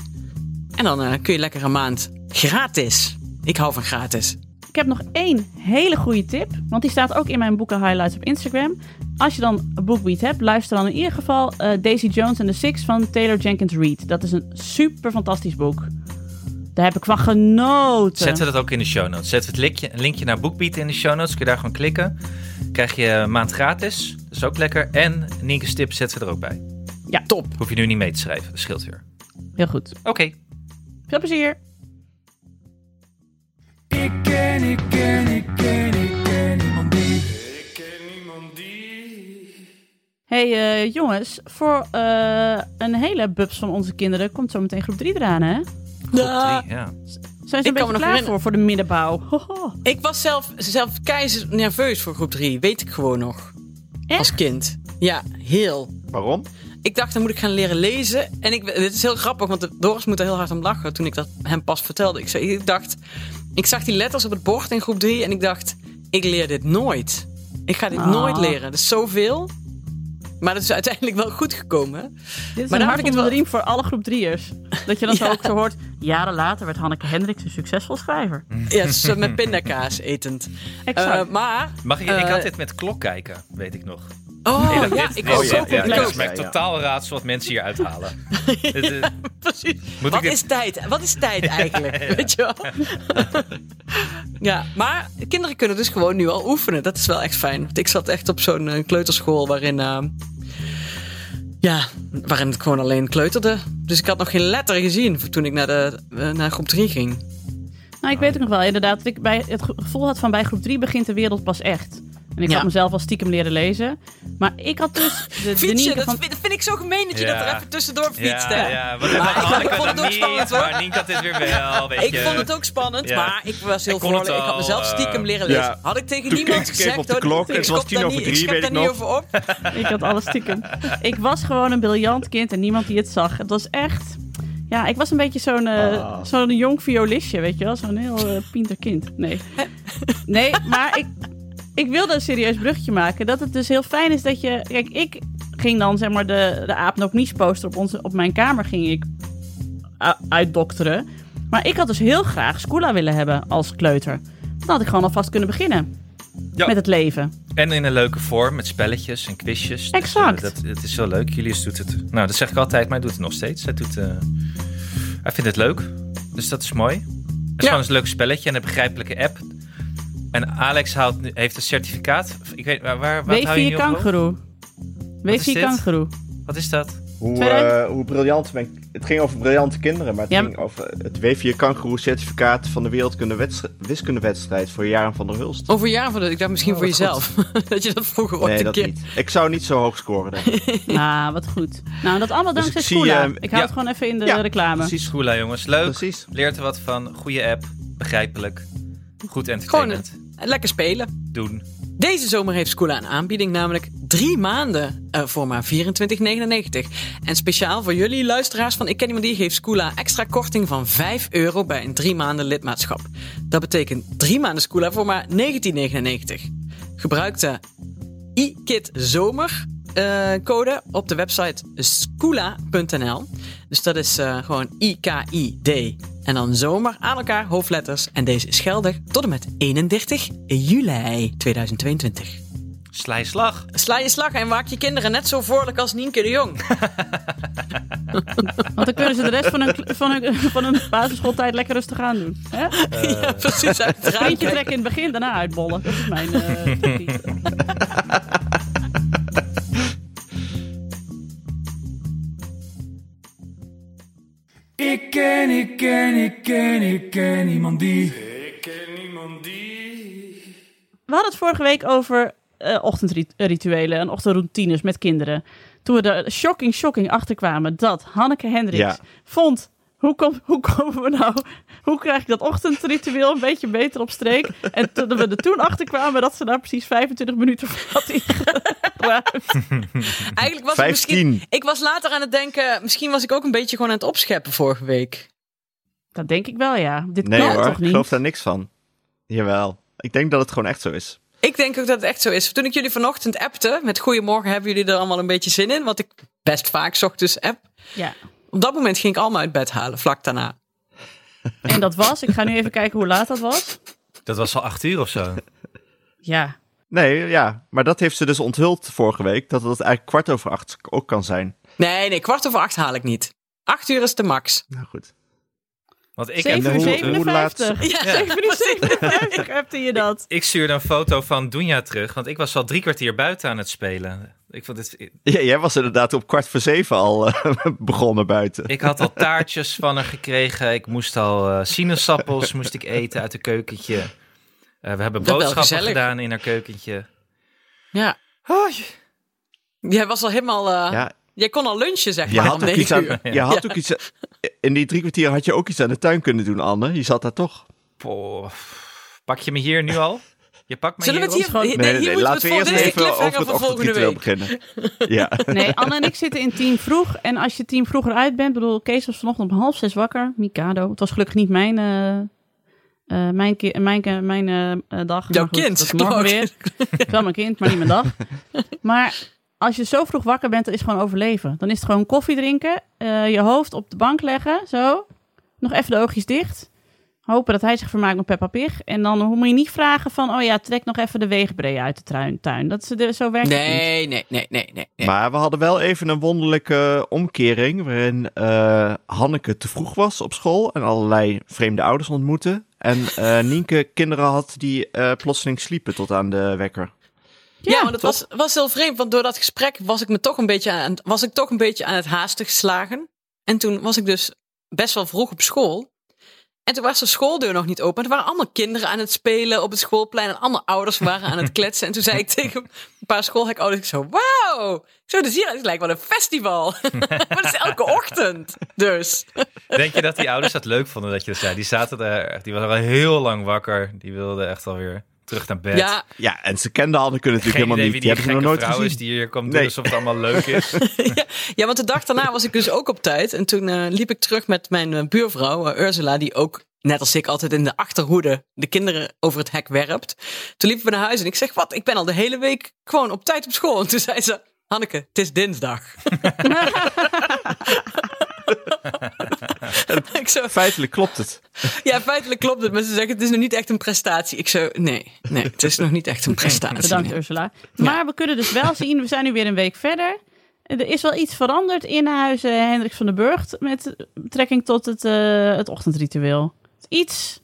[SPEAKER 1] En dan eh, kun je lekker een maand gratis. Ik hou van gratis.
[SPEAKER 2] Ik heb nog één hele goede tip, want die staat ook in mijn boeken highlights op Instagram. Als je dan BookBeat hebt, luister dan in ieder geval eh, Daisy Jones and the Six van Taylor Jenkins Reid. Dat is een super fantastisch boek. Daar heb ik van genoten.
[SPEAKER 3] Zetten we dat ook in de show notes. Zetten we het linkje, een linkje naar BookBeat in de show notes. Kun je daar gewoon klikken. Krijg je een maand gratis. Dat is ook lekker. En Nienke's tip zetten we er ook bij.
[SPEAKER 1] Top.
[SPEAKER 3] Hoef je nu niet mee te schrijven. Dat scheelt weer.
[SPEAKER 2] Heel goed.
[SPEAKER 3] Oké.
[SPEAKER 2] Veel plezier.
[SPEAKER 5] Ik ken, ik ken, ik ken, ik ken iemand die. Ik ken iemand die.
[SPEAKER 2] Hey eh, jongens, voor eh, een hele bubs van onze kinderen komt zo meteen groep 3 eraan, hè?
[SPEAKER 1] Ja.
[SPEAKER 3] Drie,
[SPEAKER 1] Nou,
[SPEAKER 3] ja.
[SPEAKER 2] Zijn
[SPEAKER 1] me nog
[SPEAKER 2] ze een beetje klaar
[SPEAKER 1] herinneren.
[SPEAKER 2] voor, voor de
[SPEAKER 1] <laughs>
[SPEAKER 2] middenbouw? Hoho.
[SPEAKER 1] Ik was zelf, zelf keizer nerveus voor groep 3, weet ik gewoon nog.
[SPEAKER 2] Echt?
[SPEAKER 1] Als kind. Ja, heel.
[SPEAKER 4] Waarom?
[SPEAKER 1] Ik dacht, dan moet ik gaan leren lezen. En ik, dit is heel grappig, want Doris moet er heel hard om lachen toen ik dat hem pas vertelde. Ik, zei, ik dacht, ik zag die letters op het bord in groep 3 en ik dacht, ik leer dit nooit. Ik ga dit
[SPEAKER 2] Ah.
[SPEAKER 1] nooit leren. Dat is zoveel. Maar dat is uiteindelijk wel goed gekomen. hè?
[SPEAKER 2] Dit is
[SPEAKER 1] Maar
[SPEAKER 2] een
[SPEAKER 1] daar had ik het wel-
[SPEAKER 2] hartelijk riem voor alle groep 3'ers. Dat
[SPEAKER 1] <laughs>
[SPEAKER 2] je dan zo ook zo hoort, jaren later werd Hanneke Hendricks een succesvol schrijver.
[SPEAKER 1] Ja, het is, eh, met pindakaas etend.
[SPEAKER 2] Exact.
[SPEAKER 1] Eh, maar...
[SPEAKER 3] Mag ik, ik
[SPEAKER 1] eh,
[SPEAKER 3] had dit met klok kijken, weet ik nog.
[SPEAKER 1] Oh,
[SPEAKER 3] Nee, dat-
[SPEAKER 1] ja,
[SPEAKER 3] dit-
[SPEAKER 1] ik
[SPEAKER 3] dit-
[SPEAKER 1] was
[SPEAKER 4] oh,
[SPEAKER 1] zo
[SPEAKER 4] ja, ja,
[SPEAKER 1] compleet.
[SPEAKER 3] Dat is
[SPEAKER 4] ja,
[SPEAKER 3] mijn
[SPEAKER 4] ja.
[SPEAKER 3] totaal raadsel wat mensen hier
[SPEAKER 1] <laughs>
[SPEAKER 3] uithalen. Dit, eh,
[SPEAKER 1] Precies.
[SPEAKER 3] Moet
[SPEAKER 1] Wat
[SPEAKER 3] ik dit-
[SPEAKER 1] is tijd? Wat is
[SPEAKER 4] <laughs>
[SPEAKER 1] tijd eigenlijk? Weet je wel? ja, maar kinderen kunnen dus gewoon nu al oefenen. Dat is wel echt fijn. Want ik zat echt op zo'n eh, kleuterschool waarin... eh, ja, waarin het gewoon alleen kleuterde. Dus ik had nog geen letter gezien toen ik naar, de, eh, naar groep 3 ging.
[SPEAKER 2] Nou, ik weet ook nog wel inderdaad dat ik bij het ge- gevoel had van bij groep 3 begint de wereld pas echt. En ik
[SPEAKER 1] Ja.
[SPEAKER 2] had mezelf al stiekem leren lezen. Maar ik had
[SPEAKER 1] <laughs>
[SPEAKER 2] dus de, de
[SPEAKER 1] Fietsen,
[SPEAKER 2] Nienke
[SPEAKER 1] dat
[SPEAKER 2] van...
[SPEAKER 1] vind, vind ik zo gemeen dat je
[SPEAKER 3] Ja.
[SPEAKER 1] dat er even tussendoor fietst.
[SPEAKER 3] ja,
[SPEAKER 1] hè?
[SPEAKER 3] ja, want ik
[SPEAKER 1] Maar
[SPEAKER 3] had
[SPEAKER 1] ik-
[SPEAKER 3] Hanneke
[SPEAKER 1] ik vond het
[SPEAKER 3] dan
[SPEAKER 1] ook spannend,
[SPEAKER 3] niet,
[SPEAKER 1] hoor.
[SPEAKER 3] maar Nienke had dit weer wel, weet
[SPEAKER 1] Ik
[SPEAKER 3] je.
[SPEAKER 1] vond het ook spannend,
[SPEAKER 3] Ja.
[SPEAKER 1] maar ik was heel
[SPEAKER 3] Ik kon het
[SPEAKER 1] vrolijk. Ik had
[SPEAKER 3] al,
[SPEAKER 1] mezelf
[SPEAKER 3] eh,
[SPEAKER 1] stiekem leren
[SPEAKER 4] ja.
[SPEAKER 1] lezen. Had ik tegen
[SPEAKER 4] Toen
[SPEAKER 1] niemand
[SPEAKER 4] keek ik even
[SPEAKER 1] gezegd,
[SPEAKER 4] op de
[SPEAKER 1] hoor,
[SPEAKER 4] klok,
[SPEAKER 1] ik
[SPEAKER 4] het was
[SPEAKER 1] schop
[SPEAKER 4] tien
[SPEAKER 1] daar
[SPEAKER 4] over
[SPEAKER 1] niet-
[SPEAKER 4] drie,
[SPEAKER 1] ik schep
[SPEAKER 4] weet ik
[SPEAKER 1] daar niet
[SPEAKER 4] nog.
[SPEAKER 1] over op.
[SPEAKER 2] Ik had alles stiekem. Ik was gewoon een briljant kind en niemand die het zag. Het was echt... Ja, ik was een beetje zo'n eh,
[SPEAKER 4] Ah.
[SPEAKER 2] zo'n jong violistje, weet je wel? Zo'n heel eh, pinter kind. Nee. Nee, maar ik, ik wilde een serieus bruggetje maken. Dat het dus heel fijn is dat je... Kijk, ik ging dan zeg maar de, de aapnoopnies poster op, onze, op mijn kamer ging ik u- uitdokteren. Maar ik had dus heel graag Scula willen hebben als kleuter. Dan had ik gewoon alvast kunnen beginnen
[SPEAKER 3] Ja.
[SPEAKER 2] met het leven.
[SPEAKER 3] En in een leuke vorm, met spelletjes en quizjes. Dus,
[SPEAKER 2] Exact.
[SPEAKER 3] eh, dat, het is wel leuk. Julius doet het. Nou, dat zeg ik altijd, maar hij doet het nog steeds. Hij, doet, eh, hij vindt het leuk. Dus dat is mooi. Het is gewoon een leuk spelletje en een begrijpelijke app. En Alex haalt, nu- heeft een certificaat. Ik weet, waar, waar wat hou je
[SPEAKER 2] W4
[SPEAKER 3] nu op hoog?
[SPEAKER 2] kangeroe.
[SPEAKER 3] is
[SPEAKER 2] W4
[SPEAKER 3] dit? <laughs>
[SPEAKER 2] kangeroe.
[SPEAKER 3] Wat is dat?
[SPEAKER 4] Hoe,
[SPEAKER 2] Verder?
[SPEAKER 4] eh, hoe briljant mijn... Het ging over briljante kinderen, maar het
[SPEAKER 2] Ja,
[SPEAKER 4] ging over het W4 kangaroo certificaat van de wereldkunde wiskundewedstrijd voor Jaren van der Hulst.
[SPEAKER 1] Over jaren van dat, ik dacht misschien voor jezelf. <laughs> dat je dat vroeger ooit
[SPEAKER 4] Oh, Nee,
[SPEAKER 1] een
[SPEAKER 4] dat
[SPEAKER 1] keer...
[SPEAKER 4] niet. Ik zou niet zo hoog scoren, denk ik.
[SPEAKER 2] Ah, wat goed. Nou, dat allemaal
[SPEAKER 4] Dus
[SPEAKER 2] dankzij
[SPEAKER 4] ik zie,
[SPEAKER 2] Scula.
[SPEAKER 4] eh,
[SPEAKER 2] ik hou
[SPEAKER 3] ja.
[SPEAKER 2] het gewoon even in de
[SPEAKER 4] Ja,
[SPEAKER 2] reclame.
[SPEAKER 4] Precies.
[SPEAKER 3] Schoola, jongens. Leuk.
[SPEAKER 4] Precies.
[SPEAKER 3] Leert er wat van. Goede app. Begrijpelijk. Goed entertainment.
[SPEAKER 1] Lekker spelen.
[SPEAKER 3] Doen.
[SPEAKER 1] Deze zomer heeft Scoola een aanbieding, namelijk drie maanden eh, voor maar 24,99. En speciaal voor jullie luisteraars van Ik Ken Iemand Die geeft Scoola extra korting van 5 euro bij een drie maanden lidmaatschap. Dat betekent drie maanden Scoola voor maar 19,99. Gebruik de iKit Zomer eh, code op de website scula.nl. Dus dat is eh, gewoon I-K-I-D. En dan zomer aan elkaar hoofdletters. En deze is geldig tot en met 31 juli 2022.
[SPEAKER 3] Sla je slag.
[SPEAKER 1] Sla je slag en maak je kinderen net zo voorlijk als Nienke de Jong.
[SPEAKER 2] Want dan kunnen ze de rest van hun, van
[SPEAKER 3] <laughs>
[SPEAKER 2] hun, van hun basisschooltijd lekker rustig aan doen. Hè?
[SPEAKER 1] ja, precies. Uit het
[SPEAKER 2] Eentje
[SPEAKER 1] raampje.
[SPEAKER 2] trekken in het begin, daarna uitbollen. Dat is mijn
[SPEAKER 3] <laughs>
[SPEAKER 2] eh, tactiek.
[SPEAKER 5] Ik ken, ik ken, ik ken, ik ken niemand die. Ik ken niemand die.
[SPEAKER 2] We hadden het vorige week over eh, ochtendrituelen en ochtendroutines met kinderen. Toen we er shocking, shocking achter kwamen dat Hanneke Hendricks
[SPEAKER 4] Ja.
[SPEAKER 2] vond. Hoe, kom, hoe komen we nou? Hoe krijg ik dat ochtendritueel een beetje beter op streek? En toen we er toen achter kwamen dat ze daar precies 25 minuten voor had ingeruimd.
[SPEAKER 1] Eigenlijk was het misschien...
[SPEAKER 4] Vijftien.
[SPEAKER 1] Ik was later aan het denken, misschien was ik ook een beetje gewoon aan het opscheppen vorige week.
[SPEAKER 2] Dat denk ik wel, ja. Dit
[SPEAKER 4] Nee
[SPEAKER 2] kan
[SPEAKER 4] hoor,
[SPEAKER 2] Nou, toch
[SPEAKER 4] ik
[SPEAKER 2] niet?
[SPEAKER 4] geloof daar niks van. Jawel. Ik denk dat het gewoon echt zo is.
[SPEAKER 1] Ik denk ook dat het echt zo is. Toen ik jullie vanochtend appte met Goedemorgen, hebben jullie er allemaal een beetje zin in? Want ik best vaak 's ochtends app.
[SPEAKER 2] Ja.
[SPEAKER 1] Op dat moment ging ik allemaal uit bed halen, vlak daarna.
[SPEAKER 2] En dat was, ik ga nu even kijken hoe laat dat was.
[SPEAKER 3] Dat was al acht uur of zo.
[SPEAKER 2] Ja,
[SPEAKER 4] Nee, ja. Maar dat heeft ze dus onthuld vorige week. Dat het eigenlijk kwart over acht ook kan zijn.
[SPEAKER 1] Nee, nee, kwart over acht haal ik niet. Acht uur is de max.
[SPEAKER 4] Nou goed.
[SPEAKER 3] <laughs> Want ik, heb,
[SPEAKER 2] 7 uur
[SPEAKER 4] hoe- hoe laat <laughs>
[SPEAKER 2] 57.
[SPEAKER 4] ze-
[SPEAKER 1] Ja,
[SPEAKER 2] 7 uur 57 hebt je dat.
[SPEAKER 3] ik stuurde een foto van Dunja terug, want ik was al drie kwartier buiten aan het spelen. Ik, vond het,
[SPEAKER 4] Ja, jij was inderdaad op kwart voor zeven al eh, <laughs> begonnen buiten.
[SPEAKER 3] ik had al taartjes van haar gekregen. Ik moest al eh, sinaasappels moest ik eten uit een keukentje. Eh, we hebben
[SPEAKER 1] Dat wel
[SPEAKER 3] boodschappen
[SPEAKER 1] gezellig.
[SPEAKER 3] gedaan in haar keukentje.
[SPEAKER 1] Ja. Jij was al helemaal. eh,
[SPEAKER 4] Ja,
[SPEAKER 1] Jij kon al lunchen, zeg
[SPEAKER 4] je
[SPEAKER 1] maar. om
[SPEAKER 4] had, ook iets
[SPEAKER 1] negen <laughs>
[SPEAKER 3] <laughs>
[SPEAKER 4] aan,
[SPEAKER 1] uur.
[SPEAKER 4] je had ook iets... In die drie kwartier had je ook iets aan de tuin kunnen doen, Anne. Je zat daar toch.
[SPEAKER 3] Poh, pak je me hier nu al? Je pakt me
[SPEAKER 1] Zullen we
[SPEAKER 3] hier
[SPEAKER 1] het
[SPEAKER 3] op?
[SPEAKER 1] hier. Nee, hier moeten we het voor. Dit is de cliffhanger voor volgende
[SPEAKER 4] ochtendritueel
[SPEAKER 1] week.
[SPEAKER 4] beginnen.
[SPEAKER 3] <laughs>
[SPEAKER 4] Ja.
[SPEAKER 2] <laughs> Nee, Anne en ik zitten in team vroeg. En als je team vroeger uit bent, bedoel, Kees was vanochtend om half zes wakker. Mikado. Het was gelukkig niet mijn, eh, eh, mijn, ki- mijn, eh, mijn eh, eh, dag.
[SPEAKER 1] <laughs> Jouw
[SPEAKER 2] Maar goed,
[SPEAKER 1] kind,
[SPEAKER 2] dat is morgen
[SPEAKER 1] klopt.
[SPEAKER 2] weer. Het is wel mijn kind, maar niet mijn dag. Maar als je zo vroeg wakker bent, dan is het gewoon overleven. Dan is het gewoon koffie drinken, eh, je hoofd op de bank leggen, zo. Nog even de oogjes dicht. Hopen dat hij zich vermaakt met Peppa Pig. En dan moet je niet vragen van... oh ja, trek nog even de wegenbree uit de truin- tuin. Dat is de, zo werkt het niet.
[SPEAKER 1] Nee, nee, nee, nee, nee. nee.
[SPEAKER 4] Maar we hadden wel even een wonderlijke omkering. waarin eh, Hanneke te vroeg was op school. en allerlei vreemde ouders ontmoette. En eh, Nienke kinderen had die eh, plotseling sliepen tot aan de wekker.
[SPEAKER 1] ja,
[SPEAKER 2] Ja,
[SPEAKER 1] want het was, was heel vreemd, want door dat gesprek was ik, me toch, een beetje aan, was ik toch een beetje aan het haastig slagen. En toen was ik dus best wel vroeg op school. En toen was de schooldeur nog niet open. En er waren allemaal kinderen aan het spelen op het schoolplein. En allemaal ouders waren aan <laughs> het kletsen. En toen zei ik tegen een paar schoolhekouders, ik zo, wauw! Zo, dus hier, het lijkt wel een festival. <laughs> maar dat is elke ochtend, dus.
[SPEAKER 3] Denk je dat die ouders dat leuk vonden dat je dat zei? Die zaten daar, die waren al heel lang wakker. Die wilden echt alweer terug naar bed.
[SPEAKER 1] Ja,
[SPEAKER 4] Ja, en ze kenden Hanneke natuurlijk
[SPEAKER 3] Geen
[SPEAKER 4] helemaal
[SPEAKER 3] idee
[SPEAKER 4] niet.
[SPEAKER 3] wie
[SPEAKER 4] die
[SPEAKER 3] die
[SPEAKER 4] hebben ze nog
[SPEAKER 3] gekke
[SPEAKER 4] nooit
[SPEAKER 3] vrouw
[SPEAKER 4] gezien.
[SPEAKER 3] is die hier komt doen
[SPEAKER 4] Nee.
[SPEAKER 3] alsof het allemaal leuk
[SPEAKER 1] <laughs>
[SPEAKER 3] is.
[SPEAKER 1] ja, ja, want de dag daarna was ik dus ook op tijd. En toen eh, liep ik terug met mijn eh, buurvrouw eh, Ursula, die ook, net als ik, altijd in de achterhoede de kinderen over het hek werpt. Toen liepen we naar huis en ik zeg, wat, ik ben al de hele week gewoon op tijd op school. En toen zei ze, Hanneke, het is dinsdag. <laughs> ik zo,
[SPEAKER 4] Feitelijk klopt het.
[SPEAKER 1] ja, feitelijk klopt het, maar ze zeggen, het is nog niet echt een prestatie. Ik zo, nee, nee, het is nog niet echt een prestatie.
[SPEAKER 2] Bedankt Ursula. Maar we kunnen dus wel zien, we zijn nu weer een week verder. Er is wel iets veranderd in huizen Hendricks van den Burgt met betrekking tot het, eh, het ochtendritueel. Iets,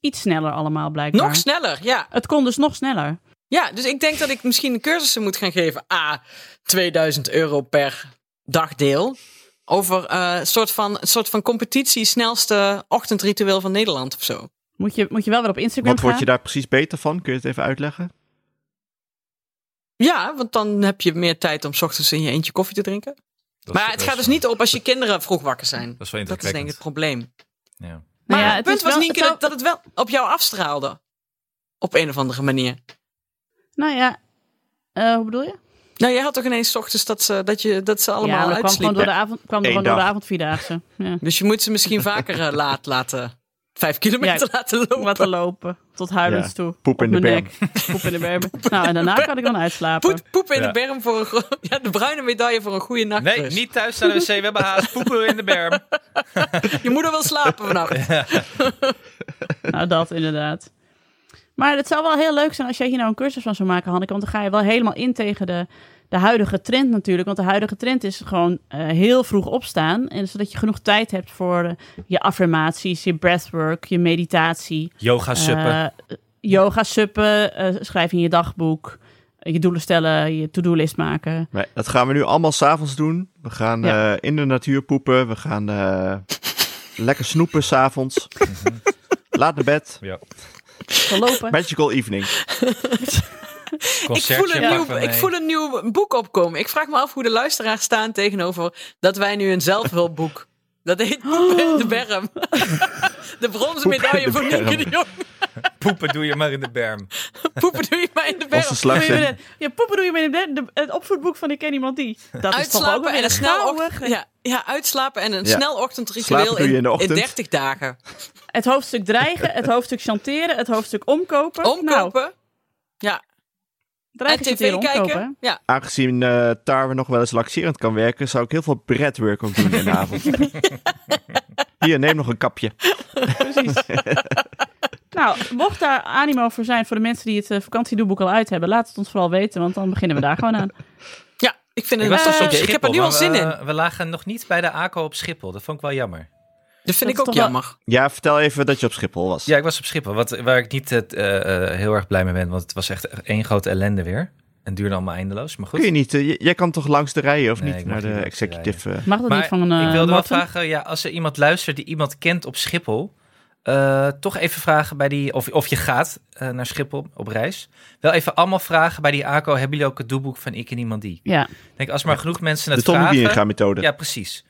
[SPEAKER 2] iets sneller allemaal blijkbaar.
[SPEAKER 1] Nog sneller, ja.
[SPEAKER 2] het kon dus nog sneller.
[SPEAKER 1] Ja, dus ik denk dat ik misschien cursussen moet gaan geven. A, 2000 euro per dagdeel. Over eh, een soort, van, een soort van competitie, snelste ochtendritueel van Nederland of zo.
[SPEAKER 2] Moet je, moet je wel weer op Instagram
[SPEAKER 4] Wat word je
[SPEAKER 2] gaan.
[SPEAKER 4] daar precies beter van? Kun je het even uitleggen?
[SPEAKER 1] Ja, want dan heb je meer tijd om 's ochtends in je eentje koffie te drinken.
[SPEAKER 3] Dat is-
[SPEAKER 1] Maar het
[SPEAKER 3] dat
[SPEAKER 1] gaat
[SPEAKER 3] is-
[SPEAKER 1] dus niet op als je kinderen vroeg wakker zijn.
[SPEAKER 3] Dat is wel
[SPEAKER 1] Dat is denk ik
[SPEAKER 3] indrukwekkend.
[SPEAKER 1] het probleem.
[SPEAKER 3] Ja.
[SPEAKER 1] Maar
[SPEAKER 2] Nou ja,
[SPEAKER 1] het
[SPEAKER 2] het
[SPEAKER 1] punt
[SPEAKER 2] is
[SPEAKER 1] was
[SPEAKER 2] wel-
[SPEAKER 1] niet
[SPEAKER 2] het zou-
[SPEAKER 1] dat het wel op jou afstraalde. Op een of andere manier.
[SPEAKER 2] Nou ja, eh, hoe bedoel je?
[SPEAKER 1] Nou, jij had toch ineens 's ochtends dat ze, dat je, dat ze
[SPEAKER 2] ja,
[SPEAKER 1] allemaal
[SPEAKER 2] dat kwam gewoon
[SPEAKER 1] uitsliepen?
[SPEAKER 2] door de avond, kwam er
[SPEAKER 4] Eén
[SPEAKER 2] gewoon door de
[SPEAKER 4] dag.
[SPEAKER 2] avondvierdaagse. Ja.
[SPEAKER 1] Dus je moet ze misschien vaker eh, laat laten. Vijf kilometer
[SPEAKER 2] Ja,
[SPEAKER 1] laten lopen.
[SPEAKER 2] Wat te lopen, tot huilens
[SPEAKER 4] Ja,
[SPEAKER 2] toe.
[SPEAKER 4] poep
[SPEAKER 2] Op
[SPEAKER 4] in de
[SPEAKER 2] mijn
[SPEAKER 4] berm.
[SPEAKER 2] nek, Poep in de berm. Nou, en daarna kan ik dan uitslapen.
[SPEAKER 1] Poet- poep in
[SPEAKER 3] Ja.
[SPEAKER 1] de berm voor een gro- <laughs> ja, de bruine medaille voor een goede nacht. dus.
[SPEAKER 3] Nee, niet thuis naar de wc. We hebben haast. Poepen in de berm.
[SPEAKER 4] <laughs>
[SPEAKER 1] Je moeder wil slapen vannacht.
[SPEAKER 2] Nou, dat inderdaad. Maar het zou wel heel leuk zijn als jij hier nou een cursus van zou maken, Hanneke. Want dan ga je wel helemaal in tegen de, de huidige trend natuurlijk. Want de huidige trend is gewoon eh, heel vroeg opstaan. En zodat je genoeg tijd hebt voor eh, je affirmaties, je breathwork, je meditatie.
[SPEAKER 3] Yoga suppen.
[SPEAKER 2] eh, yoga suppen, eh, schrijven in je dagboek. eh, Je doelen stellen, je to-do-list maken.
[SPEAKER 4] Nee, dat gaan we nu allemaal s'avonds doen. We gaan
[SPEAKER 2] Ja.
[SPEAKER 4] eh, in de natuur poepen. We gaan eh, lekker snoepen s'avonds.
[SPEAKER 3] Mhm.
[SPEAKER 4] Laat naar bed.
[SPEAKER 3] ja.
[SPEAKER 2] Gaan lopen.
[SPEAKER 4] Magical evening.
[SPEAKER 1] Ik voel, een
[SPEAKER 3] Concertje
[SPEAKER 1] nieuw,
[SPEAKER 3] pakken
[SPEAKER 1] ik
[SPEAKER 3] mee.
[SPEAKER 1] voel een nieuw boek opkomen. Ik vraag me af hoe de luisteraars staan tegenover dat wij nu een zelfhulpboek. <laughs> Dat heet Poep in de Berm. <laughs> De bronzen
[SPEAKER 4] Poep in
[SPEAKER 1] medaille
[SPEAKER 4] de
[SPEAKER 1] voor Nienke
[SPEAKER 4] Berm.
[SPEAKER 1] de Jong.
[SPEAKER 3] Poepen doe je maar in de berm.
[SPEAKER 1] Poepen doe je maar in de
[SPEAKER 4] Onze
[SPEAKER 1] berm.
[SPEAKER 4] slagzin.
[SPEAKER 2] Ja, poepen doe je met de- de- het opvoedboek van Ik ken iemand die. Dat is toch ook
[SPEAKER 1] Uitslapen
[SPEAKER 2] weer
[SPEAKER 1] en een
[SPEAKER 2] een
[SPEAKER 1] snel
[SPEAKER 2] gouden
[SPEAKER 1] ochtend, ja, ja, uitslapen en een
[SPEAKER 4] Ja.
[SPEAKER 1] snel ochtendritueel
[SPEAKER 4] Slapen doe je in de ochtend.
[SPEAKER 1] 30 dagen.
[SPEAKER 2] Het hoofdstuk dreigen, het hoofdstuk chanteren, het hoofdstuk omkopen. Nou,
[SPEAKER 1] Omkopen en
[SPEAKER 2] dreigen,
[SPEAKER 1] tv
[SPEAKER 2] chanteren,
[SPEAKER 1] kijken.
[SPEAKER 2] omkopen.
[SPEAKER 1] Ja.
[SPEAKER 4] Aangezien eh, Tarwe nog wel eens laxerend kan werken, zou ik heel veel breadwork ook doen
[SPEAKER 3] <laughs>
[SPEAKER 4] in de avond. Hier, neem nog een kapje.
[SPEAKER 2] Precies. nou, mocht daar animo voor zijn voor de mensen die het eh, vakantiedoeboek al uit hebben, laat het ons vooral weten, want dan beginnen we daar gewoon aan.
[SPEAKER 1] ja, ik vind
[SPEAKER 3] Ik
[SPEAKER 1] het
[SPEAKER 3] was
[SPEAKER 1] wel
[SPEAKER 3] dus op
[SPEAKER 1] Ik heb er
[SPEAKER 3] Schiphol,
[SPEAKER 1] nu al
[SPEAKER 3] maar
[SPEAKER 1] zin
[SPEAKER 3] we-
[SPEAKER 1] in.
[SPEAKER 3] We lagen nog niet bij de ACO op Schiphol. Dat vond ik wel jammer.
[SPEAKER 1] Dat vind
[SPEAKER 2] is
[SPEAKER 1] ik ook
[SPEAKER 2] toch wel-
[SPEAKER 1] jammer.
[SPEAKER 4] Ja, vertel even dat je op Schiphol was.
[SPEAKER 3] Ja, ik was op Schiphol. Wat, waar ik niet eh, t- eh, eh, heel erg blij mee ben, want het was echt één grote ellende weer. En duurde allemaal eindeloos. Maar goed.
[SPEAKER 4] Kun je niet, eh, j- jij kan toch langs de rijen of
[SPEAKER 3] Nee, ik
[SPEAKER 4] niet
[SPEAKER 3] mag
[SPEAKER 4] naar de
[SPEAKER 3] niet langs de
[SPEAKER 4] executive? eh,
[SPEAKER 2] Mag dat niet
[SPEAKER 3] Maar
[SPEAKER 2] van eh
[SPEAKER 3] ik wilde wel
[SPEAKER 2] Martin?
[SPEAKER 3] vragen, ja, als er iemand luistert die iemand kent op Schiphol, eh, toch even vragen bij die, of, of je gaat eh, naar Schiphol op reis. Wel even allemaal vragen bij die ACO, hebben jullie ook het doelboek van Ik en Iemand Die?
[SPEAKER 2] Ja,
[SPEAKER 3] Ik Denk, als maar genoeg mensen
[SPEAKER 4] de
[SPEAKER 3] het
[SPEAKER 4] Tommy
[SPEAKER 3] vragen.
[SPEAKER 4] Bieringa methode.
[SPEAKER 3] Ja, precies.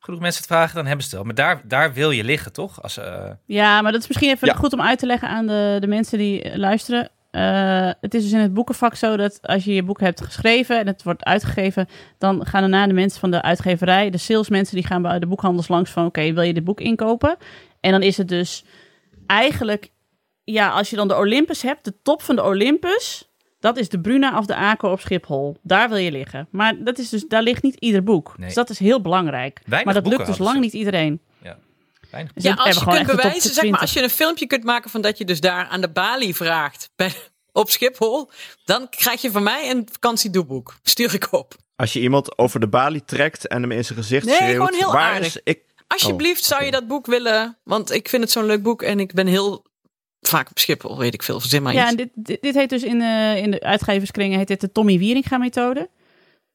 [SPEAKER 3] Genoeg mensen het vragen, dan hebben ze het wel. Maar daar, daar wil je liggen, toch? Als, eh,
[SPEAKER 2] ja, maar dat is misschien even
[SPEAKER 4] Ja.
[SPEAKER 2] goed om uit te leggen aan de, de mensen die eh, luisteren. Eh, het is dus in het boekenvak zo dat als je je boek hebt geschreven en het wordt uitgegeven, dan gaan daarna de mensen van de uitgeverij, de salesmensen, die gaan bij de boekhandels langs van oké, wil je dit boek inkopen? En dan is het dus eigenlijk, ja, als je dan de Olympus hebt, de top van de Olympus, dat is de Bruna of de Ako op Schiphol. Daar wil je liggen. Maar dat is dus, daar ligt niet ieder boek.
[SPEAKER 3] Nee.
[SPEAKER 2] Dus dat is heel belangrijk.
[SPEAKER 3] Weinig
[SPEAKER 2] maar dat
[SPEAKER 3] boeken
[SPEAKER 2] lukt dus
[SPEAKER 3] hadden
[SPEAKER 2] lang
[SPEAKER 3] ze.
[SPEAKER 2] niet iedereen.
[SPEAKER 3] Ja. Weinig.
[SPEAKER 2] Dus
[SPEAKER 1] Ja,
[SPEAKER 2] dat
[SPEAKER 1] als
[SPEAKER 2] hebben
[SPEAKER 1] je
[SPEAKER 2] we gewoon
[SPEAKER 1] kunt
[SPEAKER 2] echt de
[SPEAKER 1] bewijzen,
[SPEAKER 2] top
[SPEAKER 1] zeg maar,
[SPEAKER 2] 20.
[SPEAKER 1] als je een filmpje kunt maken van dat je dus daar aan de balie vraagt bij, <laughs> op Schiphol, dan krijg je van mij een vakantiedoeboek. Stuur ik op.
[SPEAKER 4] Als je iemand over de balie trekt en hem in zijn gezicht
[SPEAKER 1] Nee,
[SPEAKER 4] schreeuwt,
[SPEAKER 1] gewoon heel
[SPEAKER 4] waar
[SPEAKER 1] aardig.
[SPEAKER 4] is ik?
[SPEAKER 1] Alsjeblieft, zou je dat boek willen? Want ik vind het zo'n leuk boek en ik ben heel vaak op Schiphol, weet ik veel. Zin maar
[SPEAKER 2] Ja,
[SPEAKER 1] iets.
[SPEAKER 2] en dit, dit, dit heet dus in, eh, in de uitgeverskringen heet dit de Tommy Wieringa methode.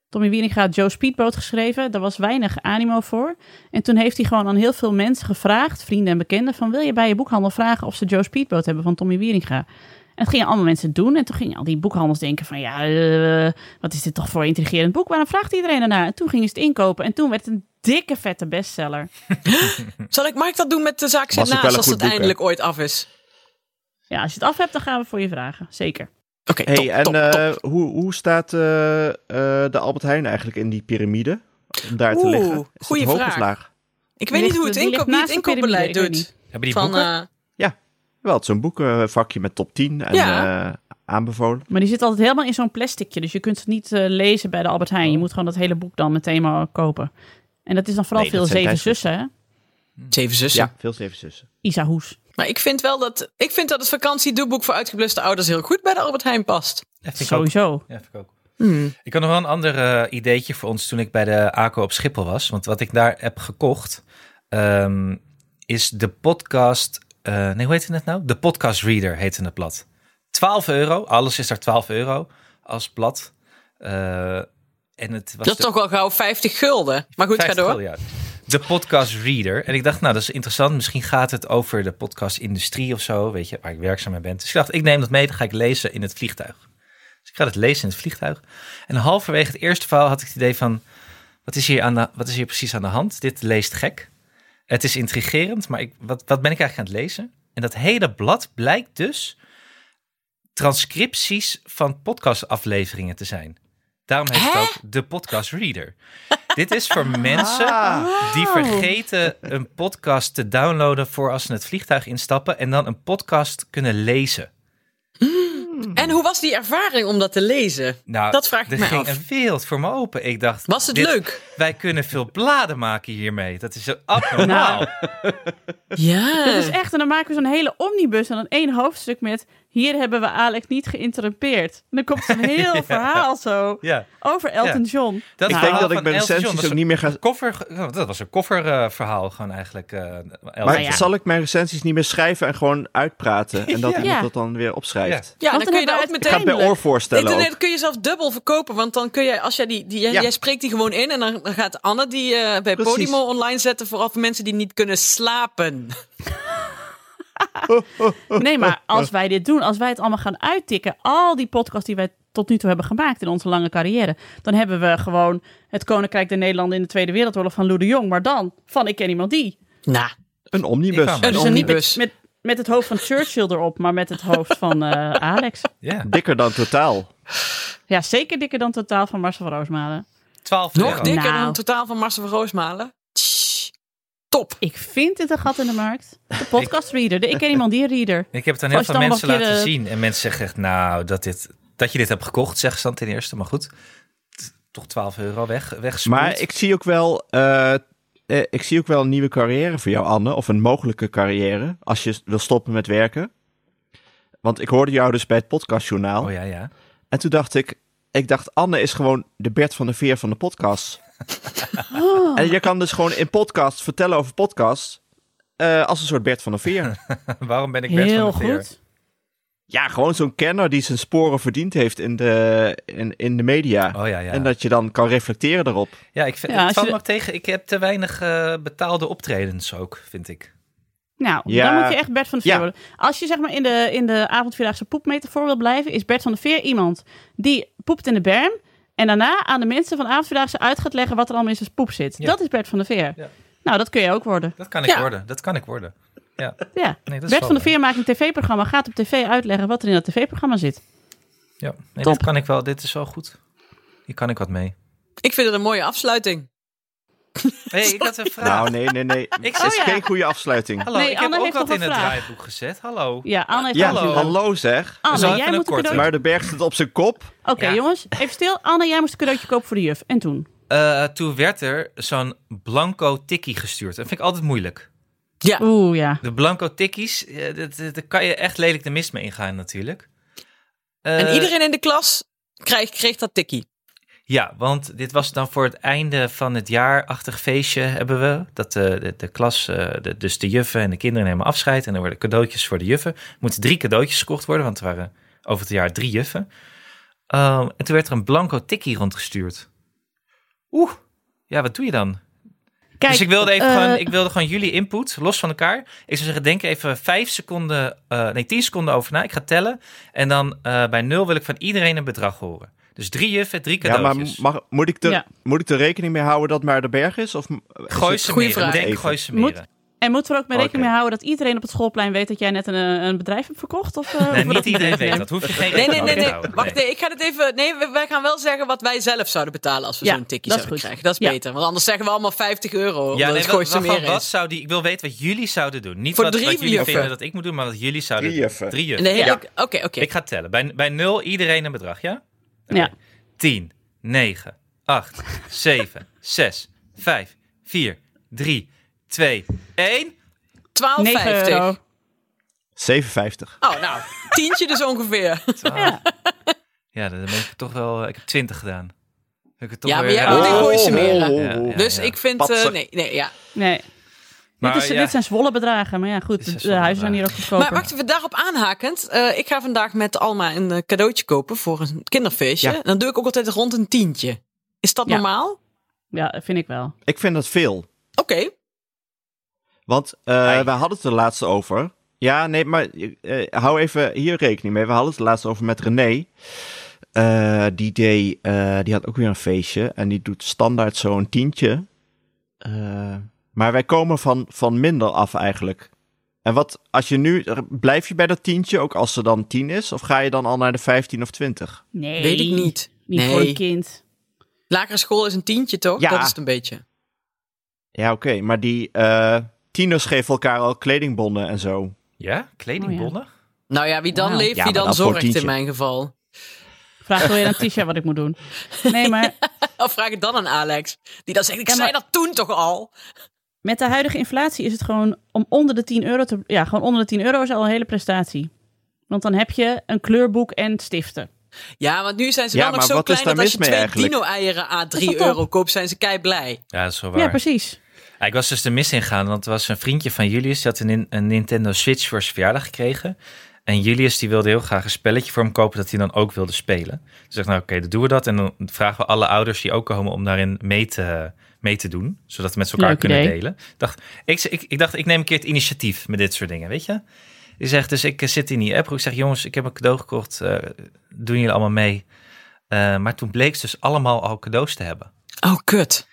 [SPEAKER 2] Tommy Wieringa had Joe Speedboat geschreven. Daar was weinig animo voor. En toen heeft hij gewoon aan heel veel mensen gevraagd, vrienden en bekenden, van wil je bij je boekhandel vragen of ze Joe Speedboat hebben van Tommy Wieringa? En dat gingen allemaal mensen doen. En toen gingen al die boekhandels denken van ja, eh, wat is dit toch voor een intrigerend boek? Waarom vraagt iedereen daarna? En toen gingen ze het inkopen. En toen werd het een dikke vette bestseller.
[SPEAKER 1] Zal ik, mag ik dat doen met de zaak
[SPEAKER 4] Was ook
[SPEAKER 1] naast
[SPEAKER 4] wel een
[SPEAKER 1] als
[SPEAKER 4] goed
[SPEAKER 1] het
[SPEAKER 4] boek, hè?
[SPEAKER 1] eindelijk ooit af is?
[SPEAKER 2] Ja, als je het af hebt, dan gaan we voor je vragen. Zeker.
[SPEAKER 1] Oké,
[SPEAKER 4] Hey,
[SPEAKER 1] top, top,
[SPEAKER 4] en
[SPEAKER 1] top.
[SPEAKER 4] eh, hoe, hoe staat eh, eh, de Albert Heijn eigenlijk in die piramide? Om daar te
[SPEAKER 1] Oeh,
[SPEAKER 4] liggen. Is het
[SPEAKER 1] goeie
[SPEAKER 4] hoog
[SPEAKER 1] vraag.
[SPEAKER 4] of laag?
[SPEAKER 1] Ik weet niet
[SPEAKER 2] ligt-
[SPEAKER 1] hoe het,
[SPEAKER 2] die ligt
[SPEAKER 1] inkoop, wie het
[SPEAKER 2] naast de piramide,
[SPEAKER 1] inkoopbeleid
[SPEAKER 2] ik weet
[SPEAKER 1] doet.
[SPEAKER 3] hebben die
[SPEAKER 1] Van,
[SPEAKER 3] boeken?
[SPEAKER 1] eh,
[SPEAKER 4] Wel, het is een boekenvakje met top 10 en
[SPEAKER 1] Ja.
[SPEAKER 4] eh, aanbevolen.
[SPEAKER 2] Maar die zit altijd helemaal in zo'n plasticje. Dus je kunt het niet eh, lezen bij de Albert Heijn. Je moet gewoon dat hele boek dan meteen maar kopen. En dat is dan vooral
[SPEAKER 4] Nee,
[SPEAKER 2] veel
[SPEAKER 4] dat zijn
[SPEAKER 2] zeven
[SPEAKER 4] tijdschriften.
[SPEAKER 2] zussen, hè?
[SPEAKER 1] Zeven zussen.
[SPEAKER 4] Ja, veel zeven zussen.
[SPEAKER 2] Isa Hoes.
[SPEAKER 1] Maar ik vind wel dat, ik vind dat het vakantiedoeboek voor uitgebluste ouders heel goed bij de Albert Heijn past.
[SPEAKER 3] Ja, vind ik ook.
[SPEAKER 2] Sowieso.
[SPEAKER 3] Ja, vind ik ook.
[SPEAKER 1] Hmm.
[SPEAKER 3] Ik had nog wel een ander eh, ideetje voor ons toen ik bij de ACO op Schiphol was. Want wat ik daar heb gekocht ehm, is de podcast... eh, nee, hoe heet het nou? De Podcast Reader heette het blad. 12 euro. Alles is daar 12 euro als blad. Eh, en het was
[SPEAKER 1] Dat
[SPEAKER 3] de-
[SPEAKER 1] is toch wel gauw 50 gulden. Maar goed, ga
[SPEAKER 3] 50
[SPEAKER 1] door.
[SPEAKER 3] gulden, ja. De podcast reader. En ik dacht, nou, dat is interessant. Misschien gaat het over de podcastindustrie of zo, weet je, waar ik werkzaam mee ben. Dus ik dacht, ik neem dat mee, dan ga ik lezen in het vliegtuig. Dus ik ga het lezen in het vliegtuig. En halverwege het eerste verhaal had ik het idee van, wat is hier, aan de, wat is hier precies aan de hand? Dit leest gek. Het is intrigerend, maar ik, wat, wat ben ik eigenlijk aan het lezen? En dat hele blad blijkt dus transcripties van podcastafleveringen te zijn. Daarom heet het
[SPEAKER 1] Hè?
[SPEAKER 3] ook de podcast reader. <laughs> Dit is voor mensen
[SPEAKER 1] Ah.
[SPEAKER 3] die vergeten een podcast te downloaden voor als ze het vliegtuig instappen en dan een podcast kunnen lezen.
[SPEAKER 1] En En hoe was die ervaring om dat te lezen?
[SPEAKER 3] Nou,
[SPEAKER 1] dat vraag ik
[SPEAKER 3] er
[SPEAKER 1] mij
[SPEAKER 3] ging
[SPEAKER 1] af.
[SPEAKER 3] een wereld voor me open. Ik dacht,
[SPEAKER 1] Was het
[SPEAKER 3] dit-
[SPEAKER 1] leuk?
[SPEAKER 3] Wij kunnen veel bladen maken hiermee. Dat is zo abnormaal.
[SPEAKER 1] <laughs>
[SPEAKER 2] Nou.
[SPEAKER 1] Ja.
[SPEAKER 2] Dat is echt, en dan maken we zo'n hele omnibus en dan één hoofdstuk met... Hier hebben we Alex niet geïnterrumpeerd. En dan komt een heel verhaal zo
[SPEAKER 3] ja.
[SPEAKER 2] over Elton John.
[SPEAKER 3] Dat
[SPEAKER 4] ik
[SPEAKER 3] verhaal
[SPEAKER 4] denk dat ik
[SPEAKER 3] van Elton John,
[SPEAKER 4] bij recensies
[SPEAKER 3] dat is
[SPEAKER 1] dus
[SPEAKER 4] ook niet meer ga...
[SPEAKER 3] een Koffer, oh, dat was een kofferverhaal gewoon eigenlijk. eh, Elton
[SPEAKER 1] Nou
[SPEAKER 4] Maar
[SPEAKER 3] John.
[SPEAKER 4] zal ik mijn recensies niet meer schrijven en gewoon uitpraten?
[SPEAKER 1] <laughs>
[SPEAKER 4] En dat
[SPEAKER 3] Ja.
[SPEAKER 4] iemand
[SPEAKER 2] Ja.
[SPEAKER 4] dat dan weer opschrijft?
[SPEAKER 1] ja, dan
[SPEAKER 2] Want
[SPEAKER 1] kun je
[SPEAKER 2] dan
[SPEAKER 1] daar ook
[SPEAKER 2] hebben we
[SPEAKER 4] Ik
[SPEAKER 1] meteen...
[SPEAKER 4] ga het bij
[SPEAKER 2] Eindelijk.
[SPEAKER 4] oor voorstellen
[SPEAKER 1] Nee,
[SPEAKER 4] ook.
[SPEAKER 1] dat kun je zelf dubbel verkopen, want dan kun je, als jij die, die jij,
[SPEAKER 4] Ja.
[SPEAKER 1] jij spreekt die gewoon in en dan dan gaat Anne die eh, bij
[SPEAKER 4] Precies.
[SPEAKER 1] Podimo online zetten vooral voor mensen die niet kunnen slapen.
[SPEAKER 2] Nee,
[SPEAKER 3] <laughs>
[SPEAKER 2] maar als wij dit doen, als wij het allemaal gaan uittikken... al die podcasts die wij tot nu toe hebben gemaakt in onze lange carrière... dan hebben we gewoon het Koninkrijk der Nederlanden in de Tweede Wereldoorlog van Lou de Jong... maar dan van Ik ken iemand die.
[SPEAKER 1] Nou,
[SPEAKER 4] Een
[SPEAKER 3] Ik
[SPEAKER 4] omnibus.
[SPEAKER 3] kan
[SPEAKER 1] een
[SPEAKER 2] Dus dan niet met,
[SPEAKER 1] omnibus.
[SPEAKER 2] met, met het hoofd van Churchill erop, maar met het hoofd van
[SPEAKER 3] <laughs>
[SPEAKER 2] eh, Alex.
[SPEAKER 3] Ja,
[SPEAKER 4] Dikker dan totaal.
[SPEAKER 2] Ja, zeker dikker dan totaal van Marcel van Roosmalen.
[SPEAKER 3] 12
[SPEAKER 1] Nog
[SPEAKER 3] euro.
[SPEAKER 1] dikker dan
[SPEAKER 2] Nou.
[SPEAKER 1] totaal van Marcel van Roosmalen. Tss, Top.
[SPEAKER 2] Ik vind dit een gat in de markt. De podcastreader, de Ik ken iemand die reader.
[SPEAKER 3] Ik heb het aan heel
[SPEAKER 2] Als je
[SPEAKER 3] veel
[SPEAKER 2] dan
[SPEAKER 3] mensen
[SPEAKER 2] nog een
[SPEAKER 3] laten
[SPEAKER 2] keer, eh,
[SPEAKER 3] zien. En mensen zeggen echt, nou, dat, dit, dat je dit hebt gekocht, zeggen ze dan ten eerste. Maar goed, t- toch 12 euro weg, wegspoeld.
[SPEAKER 4] Maar ik zie ook wel... eh, eh, ik zie ook wel een nieuwe carrière voor jou, Anne. Of een mogelijke carrière. Als je s- wil stoppen met werken. Want ik hoorde jou dus bij het podcastjournaal.
[SPEAKER 3] Oh ja, ja. <laughs>
[SPEAKER 4] En toen dacht ik... Ik dacht, Anne is gewoon de Bert van de Veer van de podcast.
[SPEAKER 3] Oh.
[SPEAKER 4] En je kan dus gewoon in podcast vertellen over podcast. eh, als een soort Bert van de Veer.
[SPEAKER 3] <laughs> Waarom ben ik Bert
[SPEAKER 2] Heel
[SPEAKER 3] van de Veer?
[SPEAKER 2] goed.
[SPEAKER 4] Ja, gewoon zo'n kenner die zijn sporen verdiend heeft in de, in, in de media.
[SPEAKER 3] Oh ja, ja.
[SPEAKER 4] En dat je dan kan reflecteren daarop.
[SPEAKER 3] Ja, ik vind,
[SPEAKER 2] Ja,
[SPEAKER 3] het
[SPEAKER 2] als
[SPEAKER 3] valt
[SPEAKER 2] je-
[SPEAKER 3] me ook tegen. Ik heb te weinig eh, betaalde optredens ook, vind ik.
[SPEAKER 2] Nou,
[SPEAKER 4] Ja.
[SPEAKER 2] dan moet je echt Bert van de Veer
[SPEAKER 4] Ja.
[SPEAKER 2] worden. Als je zeg maar in de, in de avondvierdaagse poepmetafoor wil blijven, is Bert van de Veer iemand die poept in de berm. En daarna aan de mensen van de avondvierdaagse uit gaat leggen wat er allemaal in zijn poep zit.
[SPEAKER 3] Ja.
[SPEAKER 2] Dat is Bert van de Veer.
[SPEAKER 3] Ja.
[SPEAKER 2] Nou, dat kun je ook worden.
[SPEAKER 3] Dat kan ik
[SPEAKER 1] Ja.
[SPEAKER 3] worden. Dat kan ik worden. Ja.
[SPEAKER 2] Ja.
[SPEAKER 3] Nee,
[SPEAKER 2] Bert
[SPEAKER 3] dat is wel
[SPEAKER 2] van de
[SPEAKER 3] waar.
[SPEAKER 2] Veer maakt een tv-programma, gaat op tv uitleggen wat er in dat tv-programma zit.
[SPEAKER 3] Ja, nee,
[SPEAKER 2] Top.
[SPEAKER 3] dit kan ik wel. Dit is wel goed. Hier kan ik wat mee.
[SPEAKER 1] Ik vind het een mooie afsluiting.
[SPEAKER 3] hey, ik had een vraag.
[SPEAKER 4] Nou, nee, nee, nee.
[SPEAKER 3] Ik-
[SPEAKER 4] Het is
[SPEAKER 2] Oh ja.
[SPEAKER 4] geen goede afsluiting.
[SPEAKER 3] Hallo,
[SPEAKER 2] Nee,
[SPEAKER 3] ik
[SPEAKER 2] Anne
[SPEAKER 3] heb ook
[SPEAKER 2] heeft
[SPEAKER 3] wat
[SPEAKER 2] nog
[SPEAKER 3] in
[SPEAKER 2] een
[SPEAKER 3] het
[SPEAKER 2] vraag.
[SPEAKER 3] draaiboek gezet. Hallo.
[SPEAKER 2] Ja, Anne heeft
[SPEAKER 4] Ja,
[SPEAKER 2] ook-
[SPEAKER 3] Hallo.
[SPEAKER 4] hallo, zeg.
[SPEAKER 3] Zo,
[SPEAKER 2] Anne,
[SPEAKER 3] even
[SPEAKER 2] jij
[SPEAKER 3] een
[SPEAKER 2] moet een
[SPEAKER 3] korte.
[SPEAKER 2] cadeautje...
[SPEAKER 4] Maar de berg zit op zijn kop.
[SPEAKER 2] Oké,
[SPEAKER 3] Ja.
[SPEAKER 2] jongens, even stil. Anne, jij moest een cadeautje kopen voor de juf. En toen?
[SPEAKER 3] Eh, toen werd er zo'n blanco tikkie gestuurd. Dat vind ik altijd moeilijk.
[SPEAKER 1] Ja.
[SPEAKER 2] Oeh, ja.
[SPEAKER 3] De blanco tikkies, eh, dat- dat- daar kan je echt lelijk de mist mee ingaan natuurlijk. Eh,
[SPEAKER 1] En iedereen in de klas krijgt, kreeg dat tikkie.
[SPEAKER 3] Ja, want dit was dan voor het einde van het jaarachtig feestje hebben we. Dat de, de, de klas, eh, de- dus de juffen en de kinderen nemen afscheid. En er worden cadeautjes voor de juffen. Er moeten drie cadeautjes gekocht worden, want er waren over het jaar drie juffen. Ehm, en toen werd er een blanco tikkie rondgestuurd. Oeh, ja, wat doe je dan?
[SPEAKER 2] Kijk,
[SPEAKER 3] dus ik wilde, even
[SPEAKER 2] eh,
[SPEAKER 3] gewoon, ik wilde gewoon jullie input, los van elkaar. Ik zou zeggen, denk er even vijf seconden, eh, nee, tien seconden over na. Ik ga tellen. En dan eh, bij nul wil ik van iedereen een bedrag horen. Dus drie juffen, drie
[SPEAKER 4] Ja, maar
[SPEAKER 3] cadeautjes.
[SPEAKER 4] mag, moet, ik er,
[SPEAKER 2] Ja.
[SPEAKER 4] moet ik er rekening mee houden dat maar de berg is? Of
[SPEAKER 3] gooi
[SPEAKER 4] ze.
[SPEAKER 3] ze
[SPEAKER 1] Dus Goeie
[SPEAKER 3] meren.
[SPEAKER 1] vraag.
[SPEAKER 3] Denk,
[SPEAKER 4] Even.
[SPEAKER 3] gooi ze
[SPEAKER 2] Moet-
[SPEAKER 3] meren.
[SPEAKER 2] En moeten we er ook mee
[SPEAKER 4] Oké.
[SPEAKER 2] rekening mee houden dat iedereen op het schoolplein weet dat jij net een, eh, een bedrijf hebt verkocht? Of, eh, of
[SPEAKER 3] Nee,
[SPEAKER 2] we dat
[SPEAKER 3] niet iedereen
[SPEAKER 2] meteen
[SPEAKER 3] weet
[SPEAKER 2] doen?
[SPEAKER 3] dat. Hoef je geen
[SPEAKER 1] Nee, nee,
[SPEAKER 3] rekening
[SPEAKER 1] nee,
[SPEAKER 3] mee te
[SPEAKER 1] nee.
[SPEAKER 3] houden.
[SPEAKER 1] Wacht, nee, ik ga het even. Nee, we- wij gaan wel zeggen wat wij zelf zouden betalen als we
[SPEAKER 2] Ja,
[SPEAKER 1] zo'n tikkie
[SPEAKER 2] dat is
[SPEAKER 1] zouden
[SPEAKER 2] goed.
[SPEAKER 1] krijgen. Dat is
[SPEAKER 2] Ja.
[SPEAKER 1] beter. Want anders zeggen we allemaal 50 euro. omdat
[SPEAKER 3] Ja, nee,
[SPEAKER 1] het
[SPEAKER 3] wat,
[SPEAKER 1] gooiste
[SPEAKER 3] wat-
[SPEAKER 1] meer
[SPEAKER 3] wat
[SPEAKER 1] is.
[SPEAKER 3] zou die, ik wil weten wat jullie zouden doen. Niet
[SPEAKER 1] Voor
[SPEAKER 3] wat,
[SPEAKER 1] drie
[SPEAKER 3] wat jullie
[SPEAKER 1] juffen.
[SPEAKER 3] vinden dat ik moet doen, maar wat jullie zouden
[SPEAKER 4] Drie juffen.
[SPEAKER 3] doen. Drie
[SPEAKER 1] En de
[SPEAKER 3] juffen.
[SPEAKER 1] hele-
[SPEAKER 2] Ja.
[SPEAKER 1] Oké, oké.
[SPEAKER 3] Ik ga tellen. Bij, bij nul iedereen een bedrag, ja?
[SPEAKER 2] Ja.
[SPEAKER 3] 10, 9,
[SPEAKER 1] <laughs>
[SPEAKER 3] 8, 7, 6, 5, 4, 3, 2, 1.
[SPEAKER 2] 9
[SPEAKER 1] 12,50.
[SPEAKER 2] euro.
[SPEAKER 4] 57.
[SPEAKER 1] Oh, nou, tientje dus ongeveer.
[SPEAKER 2] Ja.
[SPEAKER 3] Ja, dan ben ik toch wel. Ik heb 20 gedaan. Dan heb Ik het toch
[SPEAKER 1] Ja, maar
[SPEAKER 3] weer
[SPEAKER 1] jij
[SPEAKER 3] raar.
[SPEAKER 1] moet niet gooien.
[SPEAKER 3] Ja,
[SPEAKER 1] dus
[SPEAKER 3] ja.
[SPEAKER 1] ik vind. eh,
[SPEAKER 4] Patser.
[SPEAKER 1] nee, nee, ja.
[SPEAKER 2] Nee.
[SPEAKER 3] Maar
[SPEAKER 2] dit, is,
[SPEAKER 3] ja.
[SPEAKER 2] dit zijn zwolle bedragen, maar ja,
[SPEAKER 3] Dit
[SPEAKER 2] goed,
[SPEAKER 3] zijn
[SPEAKER 2] de,
[SPEAKER 3] zwolle
[SPEAKER 2] huizen zijn hier ook goedkoper.
[SPEAKER 1] Maar wacht even, daarop aanhakend. eh, ik ga vandaag met Alma een eh, cadeautje kopen voor een kinderfeestje.
[SPEAKER 4] Ja.
[SPEAKER 1] Dan doe ik ook altijd rond een tientje. Is dat
[SPEAKER 2] Ja.
[SPEAKER 1] normaal?
[SPEAKER 2] Ja, vind ik wel.
[SPEAKER 4] Ik vind dat veel.
[SPEAKER 1] Oké.
[SPEAKER 4] Want eh
[SPEAKER 3] Ai.
[SPEAKER 4] we hadden het er laatst over. Ja, nee, maar eh, hou even hier rekening mee. We hadden het er laatst over met René. Eh, die, deed, eh, die had ook weer een feestje. En die doet standaard zo'n tientje. Eh, maar wij komen van, van minder af eigenlijk. En wat als je nu. Blijf je bij dat tientje ook als er dan tien is? Of ga je dan al naar de 15 of 20?
[SPEAKER 2] Nee.
[SPEAKER 1] Weet ik niet.
[SPEAKER 2] Niet
[SPEAKER 1] Nee.
[SPEAKER 2] voor een kind.
[SPEAKER 1] Lagere school is een tientje, toch?
[SPEAKER 4] Ja.
[SPEAKER 1] Dat is het een beetje.
[SPEAKER 4] Ja, oké. Maar die eh, tieners geven elkaar al kledingbonnen en zo.
[SPEAKER 3] Ja, kledingbonnen.
[SPEAKER 1] Nou ja, wie dan
[SPEAKER 2] Wauw.
[SPEAKER 1] leeft, wie
[SPEAKER 4] Ja, maar
[SPEAKER 1] dan
[SPEAKER 4] dan voor
[SPEAKER 1] zorgt in
[SPEAKER 4] tientje.
[SPEAKER 1] mijn geval. <laughs>
[SPEAKER 2] Vraag wel weer aan Tisha wat ik moet doen. Nee, maar
[SPEAKER 1] Of vraag het dan aan Alex. Die dan zegt, ik
[SPEAKER 2] Ja, maar-
[SPEAKER 1] zei dat toen toch al.
[SPEAKER 2] met de huidige inflatie is het gewoon om onder de 10 euro te... Ja, gewoon onder de 10 euro is al een hele prestatie. Want dan heb je een kleurboek en stiften.
[SPEAKER 1] Ja, want nu zijn ze
[SPEAKER 4] Ja,
[SPEAKER 1] wel nog
[SPEAKER 4] maar
[SPEAKER 1] zo
[SPEAKER 4] wat is
[SPEAKER 1] klein
[SPEAKER 4] daar
[SPEAKER 1] dat als je
[SPEAKER 4] mis mee
[SPEAKER 1] twee
[SPEAKER 4] eigenlijk?
[SPEAKER 1] dino-eieren aan
[SPEAKER 2] Is
[SPEAKER 1] 3
[SPEAKER 2] dat toch?
[SPEAKER 1] euro koopt, zijn ze kei blij.
[SPEAKER 3] Ja, dat is wel waar.
[SPEAKER 2] Ja,
[SPEAKER 3] <laughs>
[SPEAKER 2] precies.
[SPEAKER 3] Ja, ik was dus de mis ingegaan, want er was een vriendje van Julius, die had een, nin- een Nintendo Switch voor zijn verjaardag gekregen. En Julius die wilde heel graag een spelletje voor hem kopen dat hij dan ook wilde spelen. Dus ik dacht, nou oké, dan doen we dat. En dan vragen we alle ouders die ook komen om daarin mee te, mee te doen. Zodat we met z'n elkaar
[SPEAKER 2] Leuk
[SPEAKER 3] kunnen
[SPEAKER 2] idee.
[SPEAKER 3] delen. Ik Dacht, ik, ik, ik dacht, ik neem een keer het initiatief met dit soort dingen, weet je. Ik zeg, dus ik eh, zit in die app. Ik zeg, jongens, ik heb een cadeau gekocht. eh, doen jullie allemaal mee? Eh, maar toen bleek ze dus allemaal al cadeaus te hebben.
[SPEAKER 1] Oh, kut. <laughs>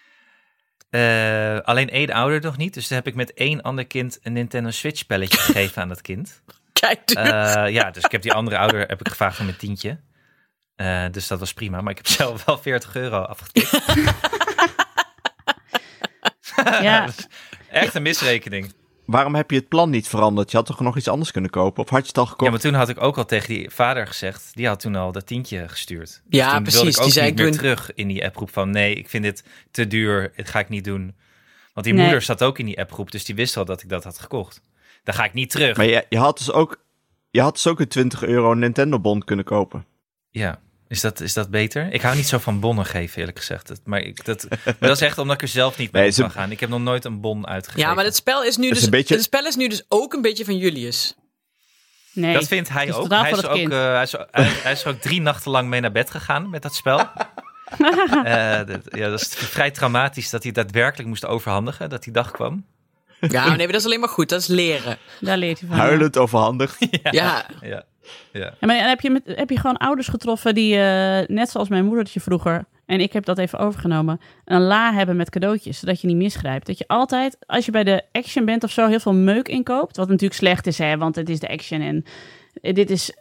[SPEAKER 3] Eh, alleen één ouder nog niet. Dus toen heb ik met één ander kind een Nintendo Switch spelletje
[SPEAKER 1] <laughs>
[SPEAKER 3] gegeven aan dat kind.
[SPEAKER 1] Kijk, duur.
[SPEAKER 3] Eh, ja, dus ik heb die andere ouder heb ik gevraagd om een tientje. Eh, dus dat was prima. Maar ik heb <laughs> zelf wel 40 euro afgetikt.
[SPEAKER 2] Ja.
[SPEAKER 3] Echt een misrekening.
[SPEAKER 4] Waarom heb je het plan niet veranderd? Je had toch nog iets anders kunnen kopen? Of had je het al
[SPEAKER 3] Ja,
[SPEAKER 4] gekocht?
[SPEAKER 3] maar toen had ik ook al tegen die vader gezegd. Die had toen al dat tientje gestuurd. Dus
[SPEAKER 1] Ja,
[SPEAKER 3] toen
[SPEAKER 1] precies.
[SPEAKER 3] wilde ik ook
[SPEAKER 1] Die zei,
[SPEAKER 3] niet
[SPEAKER 1] ik
[SPEAKER 3] meer
[SPEAKER 1] doe-
[SPEAKER 3] terug in die appgroep van... nee, ik vind dit te duur. Dit ga ik niet doen. Want die
[SPEAKER 2] Nee.
[SPEAKER 3] moeder zat ook in die appgroep. Dus die wist al dat ik dat had gekocht. Daar ga ik niet terug.
[SPEAKER 4] Maar je, je had dus ook... Je had dus ook een 20 euro Nintendo Bond kunnen kopen.
[SPEAKER 3] Ja, is dat, is dat beter? Ik hou niet zo van bonnen geven, eerlijk gezegd. Dat, maar, ik, dat, maar dat is echt omdat ik er zelf niet mee
[SPEAKER 4] Nee,
[SPEAKER 3] om
[SPEAKER 4] ze-
[SPEAKER 3] kan gaan. Ik heb nog nooit een bon uitgegeven.
[SPEAKER 1] Ja, maar het spel is nu
[SPEAKER 4] is
[SPEAKER 1] dus,
[SPEAKER 4] een beetje-
[SPEAKER 1] het spel is nu dus ook een beetje van Julius.
[SPEAKER 2] Nee.
[SPEAKER 3] dat vindt hij
[SPEAKER 2] Het is
[SPEAKER 3] ook.
[SPEAKER 2] totaal
[SPEAKER 3] Hij
[SPEAKER 2] van
[SPEAKER 3] is er
[SPEAKER 2] het
[SPEAKER 3] ook,
[SPEAKER 2] kind.
[SPEAKER 3] eh, hij, is, hij, hij is er ook drie nachten lang mee naar bed gegaan met dat spel. Eh, dat, ja, dat is vrij traumatisch dat hij daadwerkelijk moest overhandigen, dat die dag kwam.
[SPEAKER 1] Ja,
[SPEAKER 4] <laughs>
[SPEAKER 1] nee, maar dat is alleen maar goed. Dat is leren.
[SPEAKER 3] eh,
[SPEAKER 2] Daar leert hij van.
[SPEAKER 4] Huilend overhandigd.
[SPEAKER 1] <laughs> Ja,
[SPEAKER 3] Ja.
[SPEAKER 2] Ja, maar heb je, met, heb je gewoon ouders getroffen die, eh, net zoals mijn moedertje vroeger, en ik heb dat even overgenomen, een la hebben met cadeautjes, zodat je niet misgrijpt. Dat je altijd, als je bij de Action bent of zo, heel veel meuk inkoopt, wat natuurlijk slecht is, hè, want het is de Action en dit is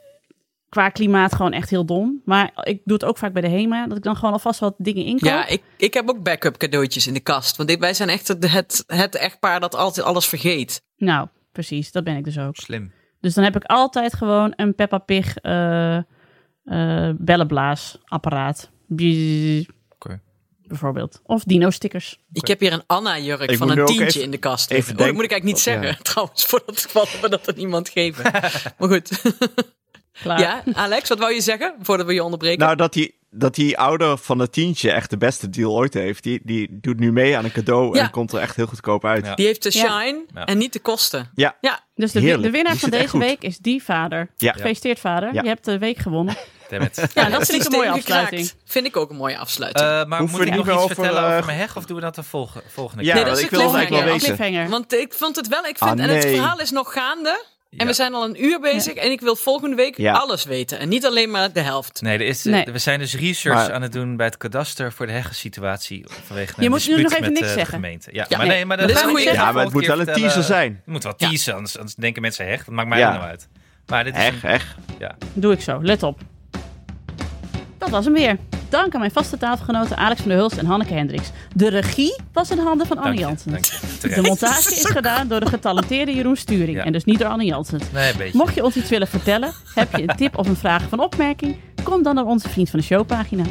[SPEAKER 2] qua klimaat gewoon echt heel dom. Maar ik doe het ook vaak bij de HEMA, dat ik dan gewoon alvast wat dingen inkoop.
[SPEAKER 1] ja ik, ik heb ook backup cadeautjes in de kast. Want dit, wij zijn echt het, het, het echtpaar dat altijd alles vergeet.
[SPEAKER 2] Nou, precies, dat ben ik dus ook.
[SPEAKER 3] Slim.
[SPEAKER 2] Dus dan heb ik altijd gewoon een Peppa Pig eh, eh, bellenblaasapparaat. Bzzz.
[SPEAKER 3] Oké.
[SPEAKER 2] Bijvoorbeeld. Of dino-stickers.
[SPEAKER 1] Ik heb hier een Anna-jurk
[SPEAKER 4] Ik
[SPEAKER 1] van
[SPEAKER 4] moet
[SPEAKER 1] een
[SPEAKER 4] nu ook
[SPEAKER 1] tientje
[SPEAKER 4] even-
[SPEAKER 1] in de kast.
[SPEAKER 4] even
[SPEAKER 1] liggen. oh, dat
[SPEAKER 4] denken.
[SPEAKER 1] moet ik eigenlijk niet
[SPEAKER 4] Ja.
[SPEAKER 1] zeggen, <laughs> trouwens, voor het geval dat we dat aan iemand geven.
[SPEAKER 4] <laughs>
[SPEAKER 1] maar goed. <laughs>
[SPEAKER 2] Klaar.
[SPEAKER 1] Ja, Alex, wat wou je zeggen voordat we je onderbreken?
[SPEAKER 4] Nou, dat die, dat die ouder van het tientje echt de beste deal ooit heeft. Die, die doet nu mee aan een cadeau
[SPEAKER 1] Ja.
[SPEAKER 4] en komt er echt heel goedkoop uit.
[SPEAKER 3] Ja.
[SPEAKER 4] Ja,
[SPEAKER 1] Die heeft de
[SPEAKER 2] Ja.
[SPEAKER 1] shine
[SPEAKER 3] Ja.
[SPEAKER 1] en niet de kosten.
[SPEAKER 4] ja.
[SPEAKER 1] Ja,
[SPEAKER 2] Dus de,
[SPEAKER 4] Heerlijk.
[SPEAKER 2] de winnaar
[SPEAKER 4] Die
[SPEAKER 2] van
[SPEAKER 4] zit echt
[SPEAKER 2] deze
[SPEAKER 4] goed.
[SPEAKER 2] week is die vader.
[SPEAKER 4] Ja.
[SPEAKER 2] Gefeliciteerd vader.
[SPEAKER 4] Ja.
[SPEAKER 2] Je hebt de week gewonnen.
[SPEAKER 3] Damn
[SPEAKER 4] <laughs>
[SPEAKER 3] it.
[SPEAKER 2] Ja, dat
[SPEAKER 1] het
[SPEAKER 2] vind ik een
[SPEAKER 1] systeem
[SPEAKER 2] mooie
[SPEAKER 1] gekraakt.
[SPEAKER 2] afsluiting.
[SPEAKER 1] Vind ik ook een mooie afsluiting.
[SPEAKER 3] Eh, maar
[SPEAKER 4] Hoeven
[SPEAKER 3] moet ik
[SPEAKER 4] we
[SPEAKER 3] nog
[SPEAKER 4] niet
[SPEAKER 3] iets
[SPEAKER 4] meer over,
[SPEAKER 3] vertellen over
[SPEAKER 4] eh,
[SPEAKER 3] mijn heg of doen we dat de volge- volgende
[SPEAKER 4] Ja,
[SPEAKER 3] keer?
[SPEAKER 1] dat
[SPEAKER 4] want
[SPEAKER 1] is
[SPEAKER 4] ik
[SPEAKER 1] een
[SPEAKER 4] wil het eigenlijk wel
[SPEAKER 1] cliffhanger.
[SPEAKER 4] weten.
[SPEAKER 2] Cliffhanger.
[SPEAKER 1] Want ik vond het wel, ik vind,
[SPEAKER 4] Ah,
[SPEAKER 1] en het
[SPEAKER 4] nee.
[SPEAKER 1] verhaal is nog gaande. En
[SPEAKER 3] Ja.
[SPEAKER 1] we zijn al een uur bezig. En ik wil volgende week
[SPEAKER 4] Ja.
[SPEAKER 1] alles weten. En niet alleen maar de helft.
[SPEAKER 3] Nee, er is,
[SPEAKER 2] Nee.
[SPEAKER 3] we zijn dus research
[SPEAKER 4] Maar-
[SPEAKER 3] aan het doen bij het kadaster voor de heggensituatie vanwege een
[SPEAKER 2] Je moet nu
[SPEAKER 3] dispuut
[SPEAKER 2] nog even
[SPEAKER 3] met,
[SPEAKER 2] niks
[SPEAKER 3] eh, de
[SPEAKER 2] zeggen.
[SPEAKER 3] gemeente. Ja,
[SPEAKER 1] Ja.
[SPEAKER 3] maar nee, maar
[SPEAKER 1] Nee, dat
[SPEAKER 3] dat
[SPEAKER 1] is
[SPEAKER 3] gaan
[SPEAKER 1] een
[SPEAKER 3] we
[SPEAKER 1] goede-
[SPEAKER 3] de
[SPEAKER 1] Ja,
[SPEAKER 4] maar het
[SPEAKER 3] volgende
[SPEAKER 4] moet
[SPEAKER 3] keer
[SPEAKER 4] wel een
[SPEAKER 3] vertellen.
[SPEAKER 4] teaser zijn.
[SPEAKER 3] Het moet wel
[SPEAKER 1] Ja.
[SPEAKER 3] teaser, anders, anders denken mensen heg. Dat maakt mij
[SPEAKER 4] Ja.
[SPEAKER 3] nou uit. Maar dit is
[SPEAKER 4] Echt, echt.
[SPEAKER 2] Doe ik zo. Let op. Dat was hem weer. Dank aan mijn vaste tafelgenoten Alex van der Hulst en Hanneke Hendricks. De regie was in handen van Anne
[SPEAKER 3] Dank je,
[SPEAKER 2] Jansen.
[SPEAKER 3] dank je.
[SPEAKER 2] De
[SPEAKER 3] Terecht.
[SPEAKER 2] montage
[SPEAKER 4] <laughs>
[SPEAKER 2] is gedaan door de getalenteerde Jeroen Sturing.
[SPEAKER 3] Ja.
[SPEAKER 2] En dus niet door Anne Jansen.
[SPEAKER 3] Nee, een beetje.
[SPEAKER 2] Mocht je ons iets willen vertellen, heb je een tip of een vraag of een opmerking, kom dan naar onze Vriend van de Show pagina.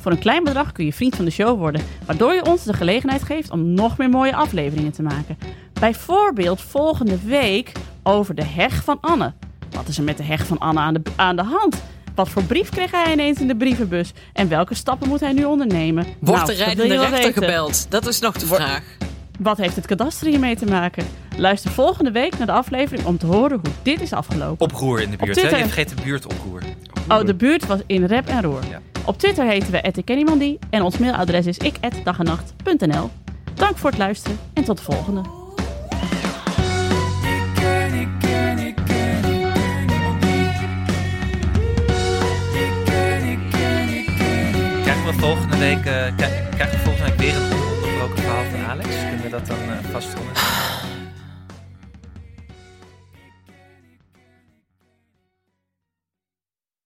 [SPEAKER 2] Voor een klein bedrag kun je Vriend van de Show worden, waardoor je ons de gelegenheid geeft om nog meer mooie afleveringen te maken. Bijvoorbeeld volgende week over de heg van Anne. Wat is er met de heg van Anne aan de, aan de hand? Wat voor brief kreeg hij ineens in de brievenbus? En welke stappen moet hij nu ondernemen?
[SPEAKER 1] Wordt
[SPEAKER 2] Nou,
[SPEAKER 1] de
[SPEAKER 2] dat wil
[SPEAKER 1] rijdende
[SPEAKER 2] je wel
[SPEAKER 1] rechter
[SPEAKER 2] weten.
[SPEAKER 1] gebeld? Dat is nog de vraag.
[SPEAKER 2] Wat heeft het kadaster hiermee te maken? Luister volgende week naar de aflevering om te horen hoe dit is afgelopen.
[SPEAKER 3] Oproer in de buurt. Hè?
[SPEAKER 2] Twitter.
[SPEAKER 3] Je vergeet de buurtoproer.
[SPEAKER 2] Oh, de buurt was in rep en roer.
[SPEAKER 3] Ja.
[SPEAKER 2] Op Twitter heten we @ikkenniemandie en ons mailadres is ik@dagennacht.nl. Dank voor het luisteren en tot de volgende.
[SPEAKER 5] Ik ken, ik ken, ik ken, ik ken niemand die. Ik ken, ik ken, ik ken, ik
[SPEAKER 3] Krijgen we volgende week, eh, krij- krijgen we volgende week weer een ononderbroken verhaal van Alex? Kunnen we dat dan eh vaststellen?